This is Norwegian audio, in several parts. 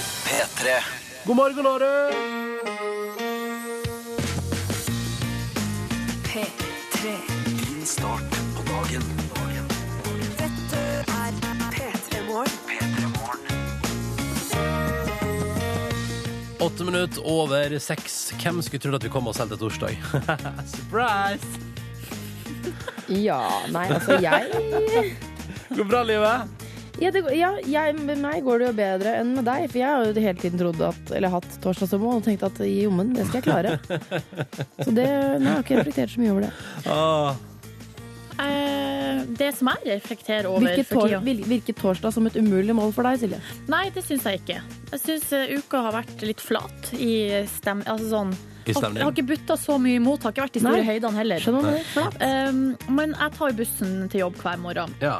P3. God morgen, Are! P3. Din start på dagen. dagen. Dette er P3 Morgen. P3 Morgen. Åtte minutter over seks. Hvem skulle trodd at vi kom oss helt til torsdag? Surprise! Ja, nei, altså jeg Går bra, livet? ja, det, går- ja, jeg, Med meg går det jo bedre enn med deg, for jeg har jo hele tiden trodd at Eller hatt torsdag som mål og tenkt at jommen, det skal jeg klare. Så det nei, jeg har ikke reflektert så mye over det. Ah, Eh, det som jeg reflekterer over Virket, for tor tida vil- virket torsdag som et umulig mål for deg, Silje? Nei, det syns jeg ikke. Jeg syns uka har vært litt flat i stem... Altså sånn I Har, stemning. har ikke butta så mye imot, har ikke vært i store Nei. høydene heller. Skjønner man det? Flatt. Um, men jeg tar jo bussen til jobb hver morgen. ja.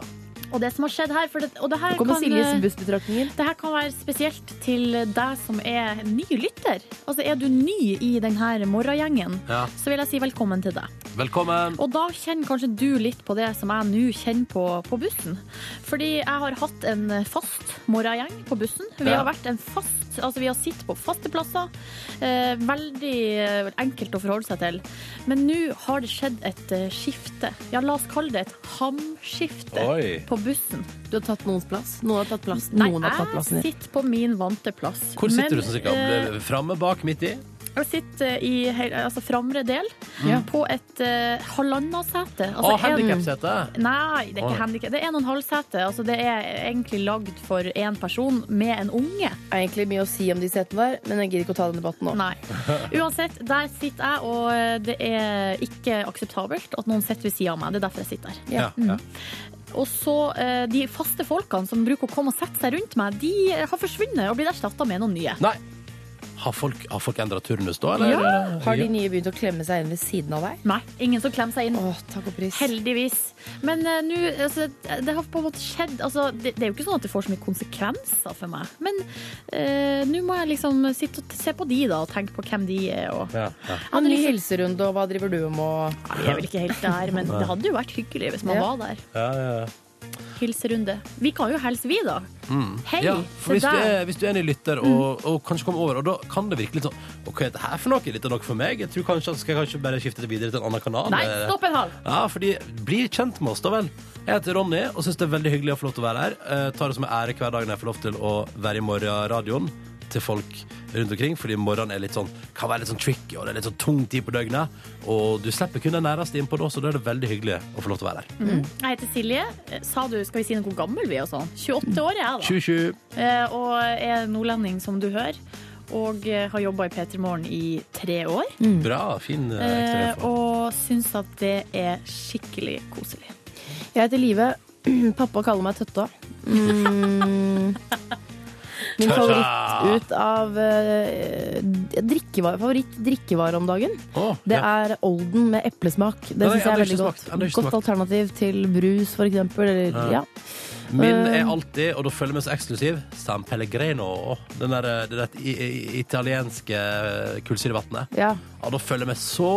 Og det som har skjedd her for det, Og det her Nå kommer kan, Siljes eh, bussbetraktninger. det her kan være spesielt til deg som er ny lytter. Altså er du ny i denne morgengjengen, ja. så vil jeg si velkommen til deg. Velkommen. Og da kjenner kanskje du litt på det som jeg nå kjenner på på bussen. Fordi jeg har hatt en fast morgengjeng på bussen. Vi Ja. har vært en fast Altså vi har sittet på faste plasser. Eh, veldig eh, enkelt å forholde seg til. Men nå har det skjedd et eh, skifte. Ja, la oss kalle det et hamskifte Oi. på bussen. Du har tatt noens plass. ah, Noen har tatt plassen, Nei, noen har tatt jeg plassen din. sitter på min vante plass. Hvor sitter Men, du sånn cirka? eh, Framme, bak, midt i? Jeg sitter i hel- altså, framre del, Ja. på et uh, halvannet sete. Å, Altså, en- handikapsete! Nei, det er Oi. ikke handikap. Det er en og en halv sete. Altså, det er egentlig lagd for én person med en unge. Det er egentlig mye å si om de setene der, men jeg gidder ikke å ta den debatten nå. Nei. Uansett, der sitter jeg, og eh, det er ikke akseptabelt at noen sitter ved sida av meg. Det er derfor jeg sitter der. Ja, ja. Og så eh, de faste folkene som bruker å komme og sette seg rundt meg, de har forsvunnet og blitt erstatta med noen nye. Nei. Har folk, har folk endra turnus da, eller? Ja. Har de nye begynt å klemme seg inn ved siden av deg? Nei, ingen som klemmer seg inn. Åh, takk og pris. Heldigvis. Men eh, nå altså, Det har på en måte skjedd altså, det, det er jo ikke sånn at det får så mye konsekvenser for meg. Men eh, nå må jeg liksom sitte og se på de da og tenke på hvem de er. Og... Ja, ja. Jeg Og hadde ny liksom- helserunde, og hva driver du med? Nei, jeg er vel ikke helt der, men det hadde jo vært hyggelig hvis man Ja. var der. Ja, ja, ja. Hilserunde. Vi kan jo hilse, vi, da. Hei Mm. Ja, for til hvis du, deg. er, hvis du er en ny lytter og, og kanskje kommer over, og da kan det virke litt sånn OK, er dette her for noe? Dette er noe for meg? Jeg tror kanskje Skal jeg kanskje bare skifte det videre til en annen kanal? Nei, Eh, stopp en hal! Ja, fordi Bli kjent med oss, da vel. Jeg heter Ronny og syns det er veldig hyggelig å få lov til å være her. Eh, tar det som en ære hver dag når jeg får lov til å være i morgenradioen til folk rundt omkring, fordi morgenen er litt sånn, kan være litt sånn tricky, og det er litt sånn tung tid på døgnet. Og du slipper kun den næreste innpå da, så da er det veldig hyggelig å få lov til å være her. Mm. Jeg heter Silje. Eh, Sa du, skal vi si noe hvor gammel vi er og sånn? 28 år er jeg, da. 2020. Eh, og er nordlending, som du hører. Og eh, har jobba i P3 Morgen i tre år. Bra. Fin eh, ekstra Eh, info. og syns at det er skikkelig koselig. Jeg heter Live. Pappa kaller meg Tøtta. Mm. Min Tøtta! favoritt ut av eh, drikkevare, favoritt drikkevare om dagen, Å, det ja. er Olden med eplesmak. Det Nei, enda syns jeg er ikke veldig godt. smakt, enda ikke Godt smakt. alternativ til brus, for eksempel. Eller, ja. Min er alltid, og da følger vi så eksklusiv, San Pellegrino. Den der, eh, det der i, i, italienske eh, kullsyrevannet. Ja. Ja, da følger vi så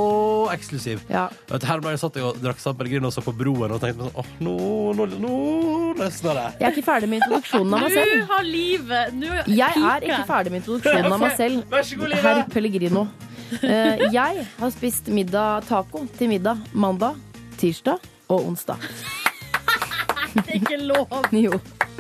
eksklusiv. ja. Vet du, her om dagen satt jeg og drakk San Pellegrino og så på broen og tenkte sånn, åh, nå, nå, nå løsner det. Jeg er ikke ferdig med introduksjonen av meg Nå selv. har livet nå Jeg er piker ikke jeg. ferdig med introduksjonen av meg selv. Vær så god, Live. Herr Pellegrino. Eh, jeg har spist middag taco til middag mandag, tirsdag og onsdag. Det er ikke lov! Jo.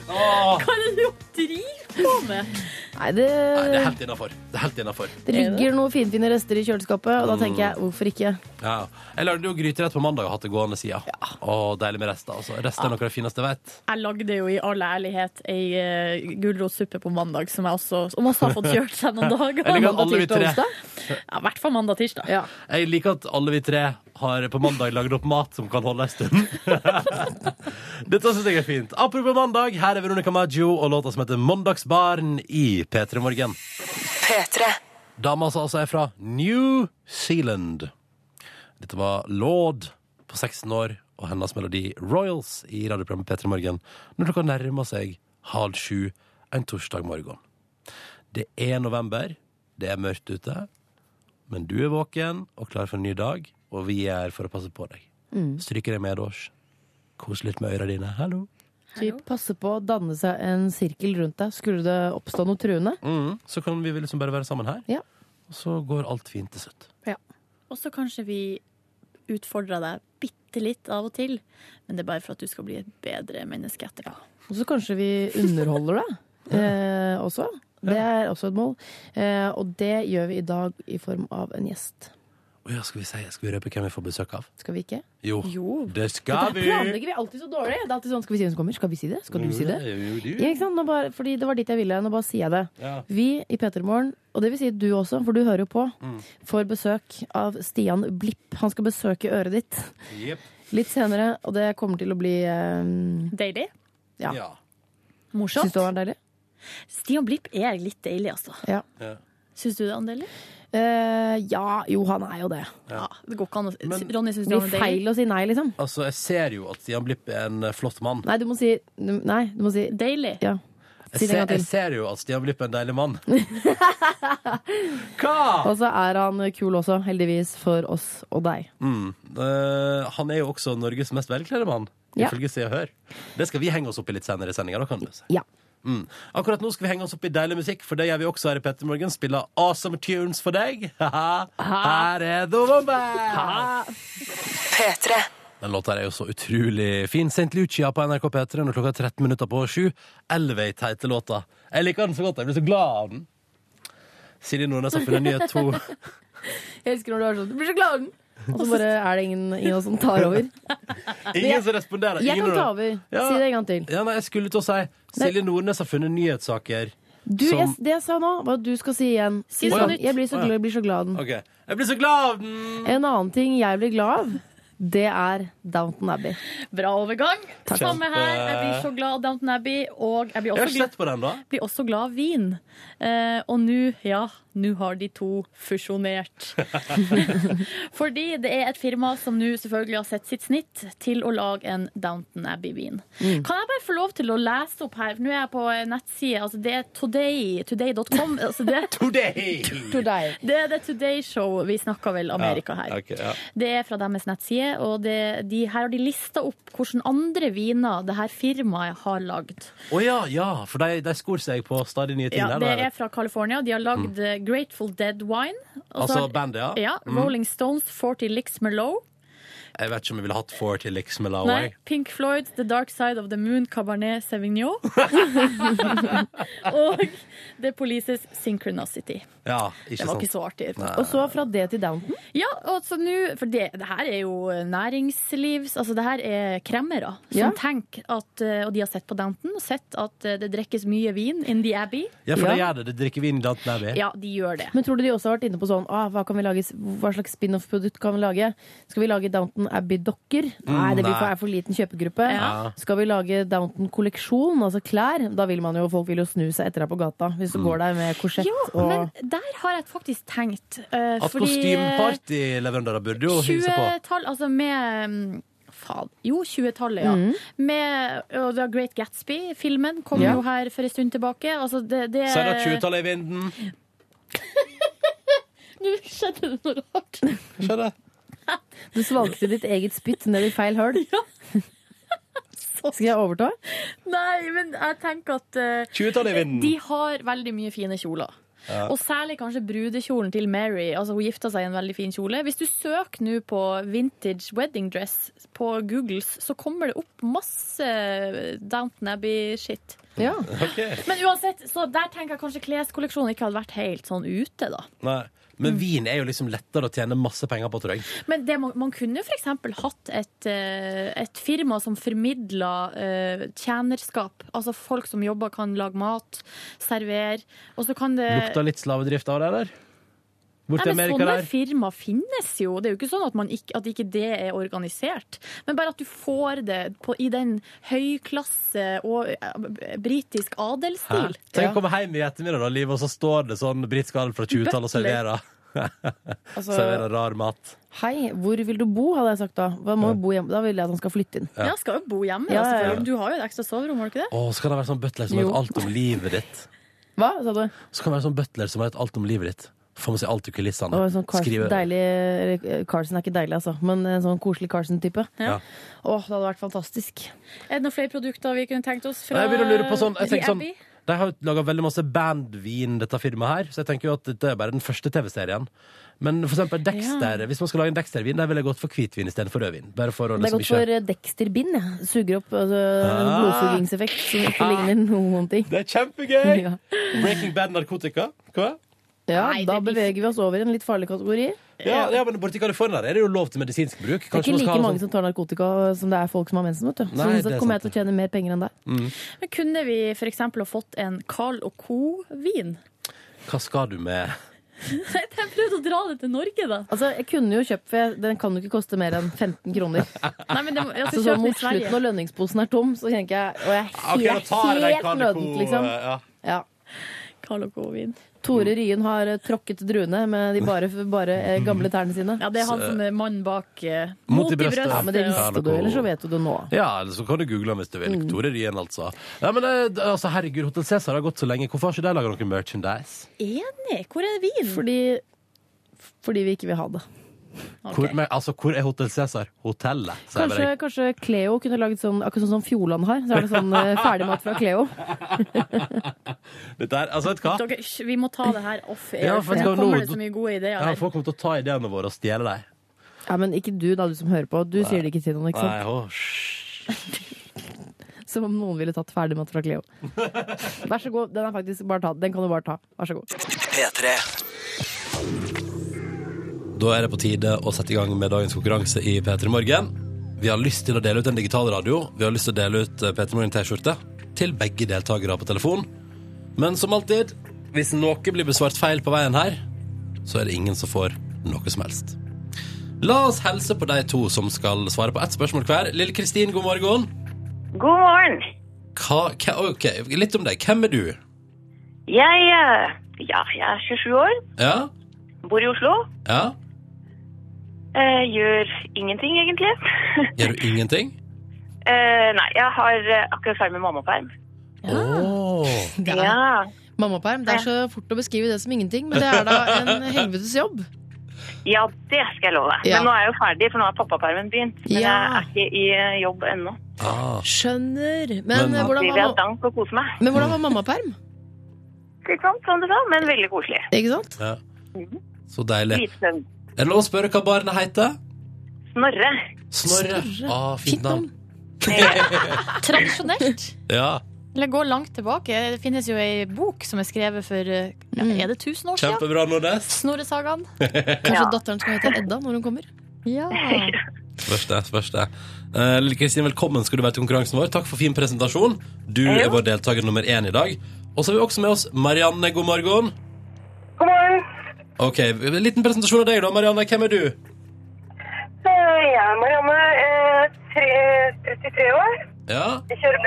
Åh, Hva er det du driver på med? Nei, det, nei, det er helt innafor. Det er helt innafor. det ligger noen finfine rester i kjøleskapet, Mm. og da tenker jeg hvorfor ikke? Ja. Jeg lagde jo gryterett på mandag og hatt det gående siden. Åh, deilig med rester, altså. Rester er noe av det fineste jeg vet. Jeg lagde jo i all ærlighet ei uh, gulrotsuppe på mandag, som jeg også, som også har fått kjørt seg noen dager. Jeg liker at Mandag, alle vi tirsdag, tre- onsdag. Ja, I hvert fall mandag-tirsdag. Ja. Jeg liker at alle vi tre har på mandag lagd opp mat som kan holde en stund. Dette syns jeg er fint. Apropos mandag, her er Veronica Maggio og låta som heter 'Mandagsbaren' i P3 Morgen. P3. Dama som altså er fra New Zealand. Dette var Lord på 16 år og hennes melodi 'Royals' i radioprogrammet P3 Morgen når klokka nærmer seg halv sju en torsdag morgen. Det er november, det er mørkt ute, men du er våken og klar for en ny dag, Mm. og vi er her for å passe på deg. Stryker deg med, Åsj. Kos litt med øra dine. Hallo. Typ, passe på å danne seg en sirkel rundt deg. Skulle det oppstå noe truende? Mm, så kan vi liksom bare være sammen her. Ja. Og så går alt fint til slutt. Og så kanskje vi utfordrer deg bitte litt av og til, men det er bare for at du skal bli et bedre menneske etterpå. Og så kanskje vi underholder deg eh, også. Det er også et mål. Eh, og det gjør vi i dag i form av en gjest. Å ja, skal vi si, skal vi røpe hvem vi får besøk av? Skal vi ikke? Jo, Jo. det Der skal vi! planlegger vi alltid så dårlig! Det er alltid sånn, Skal vi si hvem som kommer? Skal vi si det? Skal du si det? Ja, jo, du. Ja, ikke sant? Nå bare, fordi det var dit jeg ville. Nå bare sier jeg det. Ja. Vi i P3morgen, og det vil si du også, for du hører jo på, Mm. får besøk av Stian Blipp. Han skal besøke øret ditt Jepp. litt senere, og det kommer til å bli eh, Deilig. Ja. Ja. Syns Morsomt. du det var deilig? Stian Blipp er litt deilig, altså. Ja. Ja. Syns du det, Andeli? Eh, ja, jo, han er jo det. Ja. Det går ikke an å Men- Ronny, syns Det du blir han er deilig? feil å si nei, liksom. Altså, jeg ser jo at Stian Blipp er en eh, flott mann. Nei, du må si Nei, du må si Deilig. Ja. Si Jeg det en ser, gang jeg til. ser jo at Stian Blipp er en deilig mann. Hva?! Og så er han kul også, heldigvis for oss og deg. Mm. Eh, han er jo også Norges mest velkledde mann, Ja. ifølge Se og Hør. Det skal vi henge oss opp i litt senere i sendinga. da, kan du si. Ja. Mm. Akkurat nå skal vi henge oss opp i deilig musikk, for det gjør vi også her i Petter Morgen. Spiller awesome tunes for deg. Haha. her er The Wombats! P3. Den låta her er jo så utrolig fin. St. Lucia på NRK P3 når klokka er 13 minutter på sju. Elevate heter låta. Jeg liker den så godt. Jeg blir så glad av den. Silje Nordnes har funnet nye to Jeg elsker når du er sånn Du blir så glad! Og så bare er det ingen, ingen som tar over. Ingen som responderer. Jeg Ingen kan ta av- over. Ja. Si det en gang til. Ja, nei, jeg skulle til å si Silje Nordnes har funnet nyhetssaker. Du, Som- jeg, det jeg sa nå, var at du skal si igjen. Si det sånn, på nytt. Jeg blir så, Å, ja. glad, jeg blir så glad. av den. Ok. Jeg blir så glad av den! En annen ting jeg blir glad av, det er Downton Abbey. Bra overgang. Samme her. Jeg blir så glad av Downton Abbey, og jeg blir Jeg har også ikke glad sett på den, da. blir også glad av vin. Eh, og nå, ja, nå har de to fusjonert. Fordi det er et firma som nå selvfølgelig har sett sitt snitt til å lage en Downton Abbey-vin. Mm. Kan jeg bare få lov til å lese opp her? Nå er jeg på en nettside, altså det er today, today.com. Altså det, Today! To deg. det er The Today Show. Vi snakker vel Amerika her. Ja, ok, ja. Det er fra deres nettside, og det, de, her har de lista opp hvilke andre viner det her firmaet har lagd. Å ja, ja, for de, de skor seg på stadig nye ting. Ja, der, det da, eller? er fra California. De har lagd eh, Grateful Dead Wine. Og så altså har- bandet, ja. ja, Rolling Stones 40 Licks Merlot. Jeg vet ikke om jeg ville hatt four til liksom eller Nei, away. Pink Floyd The Dark Side of the Moon Cabernet Sauvignon. og The Polices Synchronicity. Ja, ikke Det var sant. ikke så artig. Og så fra det til Downton. Ja, og så nå For det, det her er jo eh, næringslivs... Altså, det her er kremmere som Ja. tenker at eh, Og de har sett på Downton og sett at eh, det drikkes mye vin in the Abbey. Ja, for det Ja. gjør det. Det drikker vin i Downton Abbey. Ja, de gjør det. Men tror du de også har vært inne på sånn ah, hva, kan vi lage, hva slags spin-off-produkt kan vi lage? Skal vi lage Downton Abbey-dokker? Nei, det blir for, Mm. nei. er for liten kjøpegruppe. Ja. Skal vi lage Downton-kolleksjon, altså klær? Da vil man jo, folk vil jo snu seg etter deg på gata hvis du Mm. går der med korsett Jo, og men der har jeg faktisk tenkt. eh, At fordi, kostymepartyleverandører burde jo hilse på. 20-tall, altså med mm, Faen. Jo, 20-tallet, ja. Med og da Great Gatsby-filmen kom Mm. Ja. jo her for en stund tilbake. Altså, det, det Så er det 20-tallet i vinden. Nå skjedde det noe rart. Skjønner jeg. Du svalgte ditt eget spytt ned i feil høl. Skal jeg overta? Nei, men jeg tenker at eh, 20-tallet i vinden. de har veldig mye fine kjoler. Og særlig kanskje brudekjolen til Mary. Altså Hun gifta seg i en veldig fin kjole. Hvis du søker nå på vintage wedding dress på Googles, så kommer det opp masse Downton Abbey-shit. Ja. Ok. Men uansett, så der tenker jeg kanskje kleskolleksjonen ikke hadde vært helt sånn ute, da. Nei. Men vin er jo liksom lettere å tjene masse penger på, tror jeg. Men det, man, man kunne jo for eksempel hatt et, eh, et firma som formidla eh, tjenerskap. Altså folk som jobber kan lage mat, servere, og så kan det Lukta litt slavedrift av det der. Borti Eh. Nei, men Amerika sånne der. firma finnes jo. Det er jo ikke sånn at, man ikke, at ikke det er organisert. Men bare at du får det på, i den høyklasse og eh, britisk Hæ? adelsstil. Tenk å komme hjem i ettermiddag, da, Liv, og så står det sånn britisk adel fra 20-tallet og Butler. serverer. serverer rar mat. Hei, hvor vil du bo, hadde jeg sagt da. Hva må jo bo hjemme? Da vil jeg at han skal flytte inn. Ja, skal jo bo hjemme. Ja, ja, da, ja. selvfølgelig. Du har jo et ekstra soverom, har du ikke det? Å, så kan det være sånn butler som Jo. vet alt om livet ditt. Hva, sa du? Så kan det være sånn butler som vet alt om livet ditt. Får med seg alt i kulissene. Og en sånn Carson, Skrive- deilig, eller, Carson er ikke deilig, altså, men en sånn koselig Carson-type. Ja. Åh, det hadde vært fantastisk. Er det noen flere produkter vi kunne tenkt oss fra Jeg begynner å lure på sånn, jeg The tenker sånn Abbey? De har laga veldig masse bandvin, dette firmaet her, så jeg tenker jo at dette er bare den første TV-serien. Men for eksempel Dexter, hvis man skal lage en Dexter-vin, der ville jeg gått for hvitvin istedenfor rødvin. Bare for å Det er liksom godt ikke for Dexter-bind. Ja. Suger opp altså, Ah. blodsugingseffekt som ikke ligner noen ting. Det er kjempegøy! Ja, Breaking Bad narkotika. Hva? ja Nei, det da er biff. beveger vi oss over i en litt farlig kategori. Ja, ja, men borti California der er det jo lov til medisinsk bruk. Det er man ikke skal like ha mange sånn- som tar narkotika som det er folk som har mensen. Vet du. Så Nei, sånn det er sett kommer jeg sant, til å tjene mer penger enn deg. Men kunne vi f.eks. ha fått en Carl og Co.-vin? Hva skal du med Jeg prøvde å dra det til Norge, da. Altså, jeg kunne jo kjøpt, for jeg- den kan jo ikke koste mer enn 15 kroner. Nei, men det må, jeg Så sånn skal kjøpe mot i slutten Sverige. når lønningsposen er tom, så tenker jeg Og jeg er Ok, da helt, tar jeg eh. den helt Carnico, nødent, liksom. ja. Ja. Carl og Co.-vin. Mm. Tore Ryen har eh, tråkket druene med de bare, bare eh, gamle tærne sine. Ja, det er han som er mannen bak eh, Mot i brøstet. Ja, men det visste du, eller så vet du det nå. Ja, eller så kan du google hvis du vil. Mm. Tore Ryen, altså. Ja, men eh, altså, herregud, Hotel Cæsar har gått så lenge. Hvorfor har ikke de laga noe merchandise? Enig! Hvor er vin? Fordi, fordi vi ikke vil ha det. Ok. Hvor, men, altså, hvor er Hotel Cæsar? Hotellet, sier jeg Kanskje, bare. kanskje Cleo kunne laget sånn, akkurat sånn som Fjordland har. Så er det sånn eh, ferdigmat fra Cleo. Dette er, altså, vet du hva? Dere, hysj, vi må ta det her off air, Ja, for for det nå skal kommer nå- det så mye gode ideer. Ja, her. folk kommer til å ta ideene våre og stjele dem. Ja, men ikke du, da, du som hører på. Du sier det ikke til noen, ikke sant? Nei, å, hysj. Som om noen ville tatt ferdigmat fra Cleo. Vær så god, den er faktisk bare tatt. Den kan du bare ta. Vær så god. P3 Da er det på tide å sette i gang med dagens konkurranse i P3 Morgen. Vi har lyst til å dele ut en digital radio. Vi har lyst til å dele ut eh, P3 Morgen T-skjorte til begge deltakere på telefon. Men som alltid, hvis noe blir besvart feil på veien her, så er det ingen som får noe som helst. La oss helse på de to som skal svare på ett spørsmål hver. Lille Kristin, god morgen. God morgen. Hva, hva, ok, litt om deg. Hvem er du? Jeg, eh, ja, jeg er 27 år, Ja? bor i Oslo. Ja? Eh, gjør ingenting, egentlig. Gjør du ingenting? eh, nei, jeg har eh, akkurat ferdig med mammaperm. Åh Ja. Mammaperm. Det er så fort å beskrive det som ingenting, men det er da en helvetes jobb. ja, det skal jeg love deg. Ja. Men nå er jeg jo ferdig, for nå har pappapermen begynt. Men Ja. jeg er ikke i eh, jobb ennå. Ah. Skjønner. Men- Men, eh, Så hvordan, vil jeg var, dank og kose meg. ma- men hvordan var mammaperm? Litt sånn, sånn det sa, men veldig koselig. Ikke sant? Ja. Så deilig. Lite søvn. Er det lov å spørre hva barnet heter? Snorre. Snorre. Ah, fint Fint navn. navn. Tradisjonelt. Ja, Eller gå langt tilbake. Det finnes jo ei bok som er skrevet for eh, ja, Mm. Er det 1000 år siden? kjempebra, Nordnes. Snorresagaen. Kanskje Ja. datteren skal hete Edda når hun kommer. Ja. Spørs det, spørs det. Eh, Lille Kristin, velkommen skal du være til konkurransen vår. Takk for fin presentasjon. Du er vår deltaker nummer én i dag. Og så har vi også med oss Marianne. God morgen. God morgen. Ok, Liten presentasjon av deg, da. Marianne, hvem er du? Jeg er Marianne, eh. 33 år. Ja? Kjører,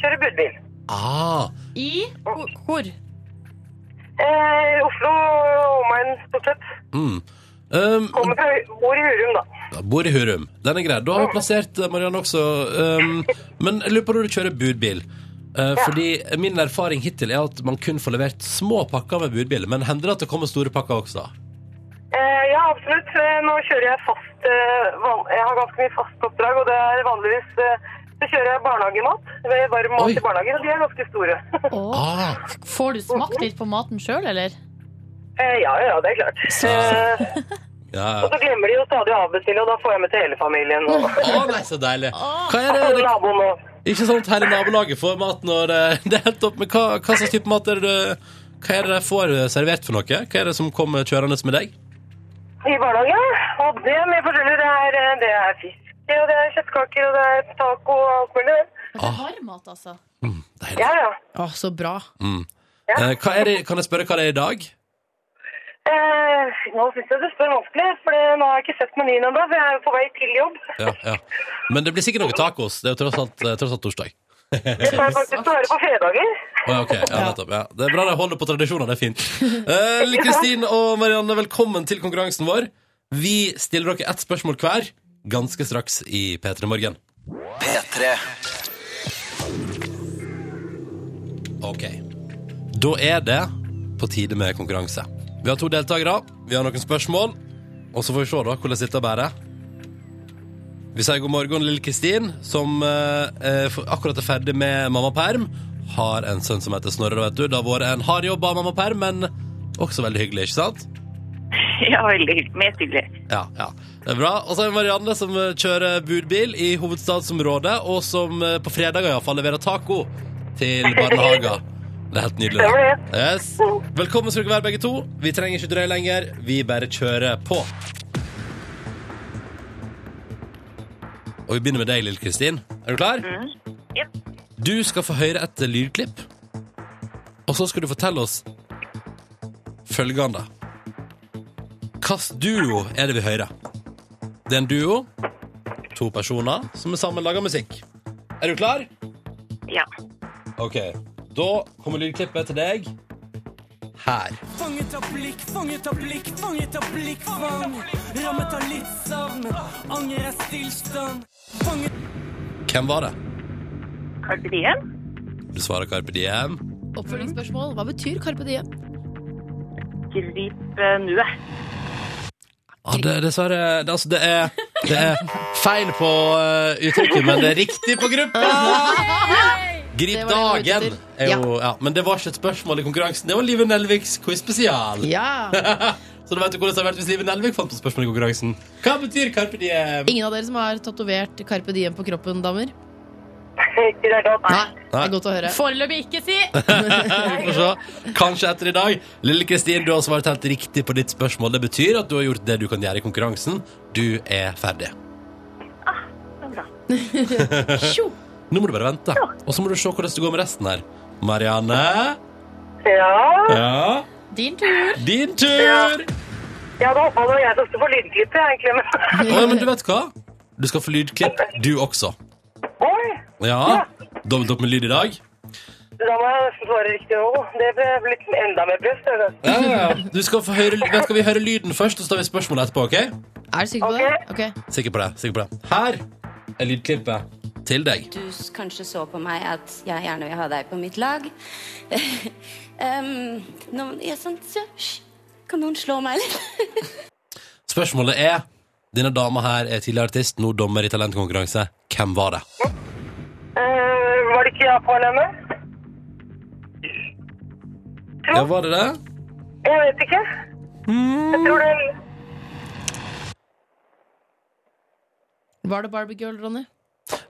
kjører budbil. Ah, I hvor? hvor? Eh, Oslo og omegn, stort sett. mm. um, Kommer fra, bor i Hurum, da. bor i Hurum. Den er grei. Da har vi plassert eh, Marianne også. Um, men jeg lurer på når du kjører budbil. Eh, Fordi Min erfaring hittil er at man kun får levert små pakker med budbil. Men hender det at det kommer store pakker også? Eh, ja, absolutt. Eh, Nå kjører jeg fast eh, van- Jeg har ganske mye fast oppdrag, og det er vanligvis eh, så kjører jeg barnehagemat. ved Varm mat Oi. i barnehagen, og de er ganske store. Ah, Får du smakt litt på maten sjøl, eller? eh, ja, ja, det er klart. Eh, ja. og så glemmer de jo stadig å avbestille, og da får jeg med til hele familien. Og, Å, nei, så deilig. Hva er det, og naboen og Ikke sant, her i nabolaget får mat når eh, det er helt opp, men hva, hva slags type mat er det du Hva er det de får eh, servert for noe? Hva er det som kommer kjørende med deg? i barnehagen. Og det er mye forskjellig. Det er, eh, det er fisk, og det er kjøttkaker, og det er taco og alt mulig. Ah. Varmmat, altså. Mm, Deilig. Ja, ja. Å, så bra. Eh, Hva er det, kan jeg spørre hva det er i dag? Eh, nå syns jeg du spør vanskelig, for det- nå har jeg ikke sett menyen ennå, for jeg er jo på vei til jobb. Ja, ja. Men det blir sikkert noe tacos. Det er jo tross alt, eh, tross alt torsdag. Det får jeg faktisk høre på fredager. Å, ja, ok. ja, nettopp, ja. Det er bra de holder på tradisjoner. Det er fint. Eh, Kristin og Marianne, velkommen til konkurransen vår. Vi stiller dere ett spørsmål hver ganske straks i P3 Morgen. P3 Ok. Da er det på tide med konkurranse. Vi har to deltakere, vi har noen spørsmål, og så får vi se da hvordan dette bærer. Vi sier god morgen, lille Kristin, som eh, eh, for- akkurat er ferdig med mammaperm. Har en sønn som heter Snorre, vet du. Det har vært en hard jobb av mammaperm, men også veldig hyggelig, ikke sant? Ja, veldig hyggelig. Meget hyggelig. Ja, ja. Det er bra. Og så er det Marianne som eh, kjører budbil i hovedstadsområdet, og som eh, på fredager iallfall leverer taco til barnehager. Det er helt nydelig. Stemmer det. Yes. Velkommen skal dere være, begge to. Vi trenger ikke drøye lenger. Vi bare kjører på. Og vi begynner med deg, lille Kristin. Er du klar? Jep. Du skal få høre et lydklipp, og så skal du fortelle oss følgende. Hvilken duo er det vi hører? Det er en duo, to personer, som er sammen lager musikk. Er du klar? Ja. Ok, da kommer lydklippet til deg her. Fanget av blikk, fanget av blikk, fanget av blikk, fang. Rammet av litt savn, anger er stillstand. Fanget Hvem var det? Carpe Diem? Du svarer Carpe Diem. Oppfølgingsspørsmål. Hva betyr Carpe Diem? Grip eh, nuet. Ja, det, dessverre, det, altså, det, er, det er feil på eh, uttrykket, men det er riktig på gruppa! Grip Det var det jeg var ute dagen! etter. Er jo, ja, men det var ikke et spørsmål i konkurransen. Det var Live Nelviks quiz-spesial. Ja! Så du vet jo hvordan det hadde vært hvis Live Nelvik fant på spørsmål i konkurransen. Hva betyr Carpe Diem? Ingen av dere som har tatovert Carpe Diem på kroppen, damer? Ikke det er godt. Nei. Det er godt å høre. Foreløpig ikke, si! Vi får se. Kanskje etter i dag. Lille Kristin, du har svart helt riktig på ditt spørsmål. Det betyr at du har gjort det du kan gjøre i konkurransen. Du er ferdig. Ah, Det er bra. Nå må du bare vente, og så må du se hvordan det går med resten her. Marianne? Ja. Ja? Din tur. Din tur! Jeg hadde håpet det var jeg som skulle få lydklippet, egentlig. Men... Å, ja, men du vet hva? Du skal få lydklipp, du også. Oi, Ja? Dobbelt opp med lyd i dag. da må jeg nesten svare riktig nå. Det ble blitt enda mer press. det altså. der. Ja, ja, ja. Du skal, få høre, vet, du, skal vi høre lyden først, og så tar vi spørsmålet etterpå? ok? Er du sikker på det? Ok. Sikker på det. sikker på det Her er lydklippet til deg. du s- kanskje så på meg at jeg gjerne vil ha deg på mitt lag. um, noen, ja, sånn, så, hysj, kan noen slå meg litt? Spørsmålet er Denne dama her er tidligere artist, nå dommer i talentkonkurranse. Hvem var det? Eh, var det ikke jeg på alene? Ja, var det det? Jeg vet ikke. Jeg tror det Var det Barbie Girl, Ronny?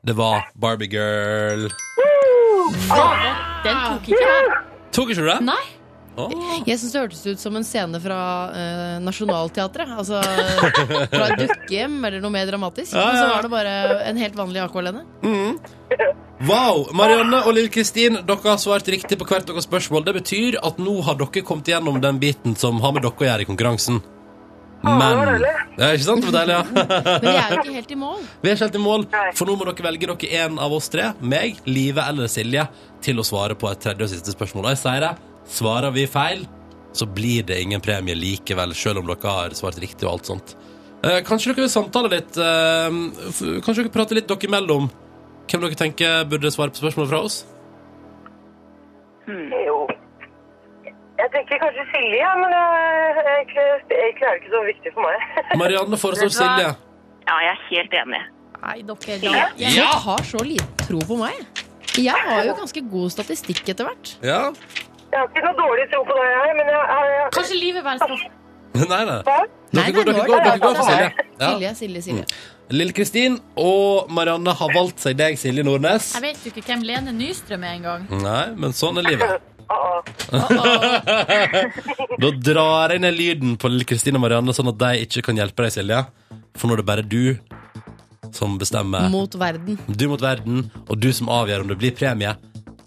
Det var Barbie Girl. Den tok ikke jeg. Tok ikke du det? Nei. Åh. Jeg syns det hørtes ut som en scene fra eh, Nationaltheatret. Altså fra et dukkehjem eller noe mer dramatisk. Ja, Men så ja. var det bare en helt vanlig akvalene. Wow! Marianne og Lill Kristin, dere har svart riktig på hvert deres spørsmål. Det betyr at nå har dere kommet gjennom den biten som har med dere å gjøre i konkurransen. Men var Det deilig. er ikke sant? Det var deilig, ja. Men vi er jo ikke helt i mål. Vi er ikke helt i mål, for nå må dere velge dere en av oss tre, meg, Live eller Silje, til å svare på et tredje og siste spørsmål. Og jeg sier det, svarer vi feil, så blir det ingen premie likevel, selv om dere har svart riktig og alt sånt. Eh, kanskje dere vil samtale litt, eh, f- kanskje dere prater litt dere imellom. Hvem dere tenker burde svare på spørsmål fra oss? Jo. Jeg tenker kanskje Silje, ja, men jeg, jeg, jeg, jeg klarer ikke så viktig for meg. Marianne foreslår Vet du hva? Silje. Ja, jeg er helt enig. Nei, dere da. Jeg har så lite tro på meg. Jeg har jo ganske god statistikk etter hvert. Ja? Jeg har ikke noe dårlig tro på deg, jeg, men jeg, jeg, jeg Kanskje livet være sånn. Nei, nei. Hva? Nei, Dere nei, går, nå er dere går, dere det- går for Silje. Ja. Mm. Silje, Silje, Silje. Lille Kristin og Marianne har valgt seg deg, Silje Nordnes. Jeg vet jo ikke hvem Lene Nystrøm er engang. Nei, men sånn er livet. Ah, ah. Da drar jeg ned lyden på lille Kristine og Marianne, sånn at de ikke kan hjelpe deg, Silje. For nå er det bare du som bestemmer. Mot verden. Du mot verden, og du som avgjør om det blir premie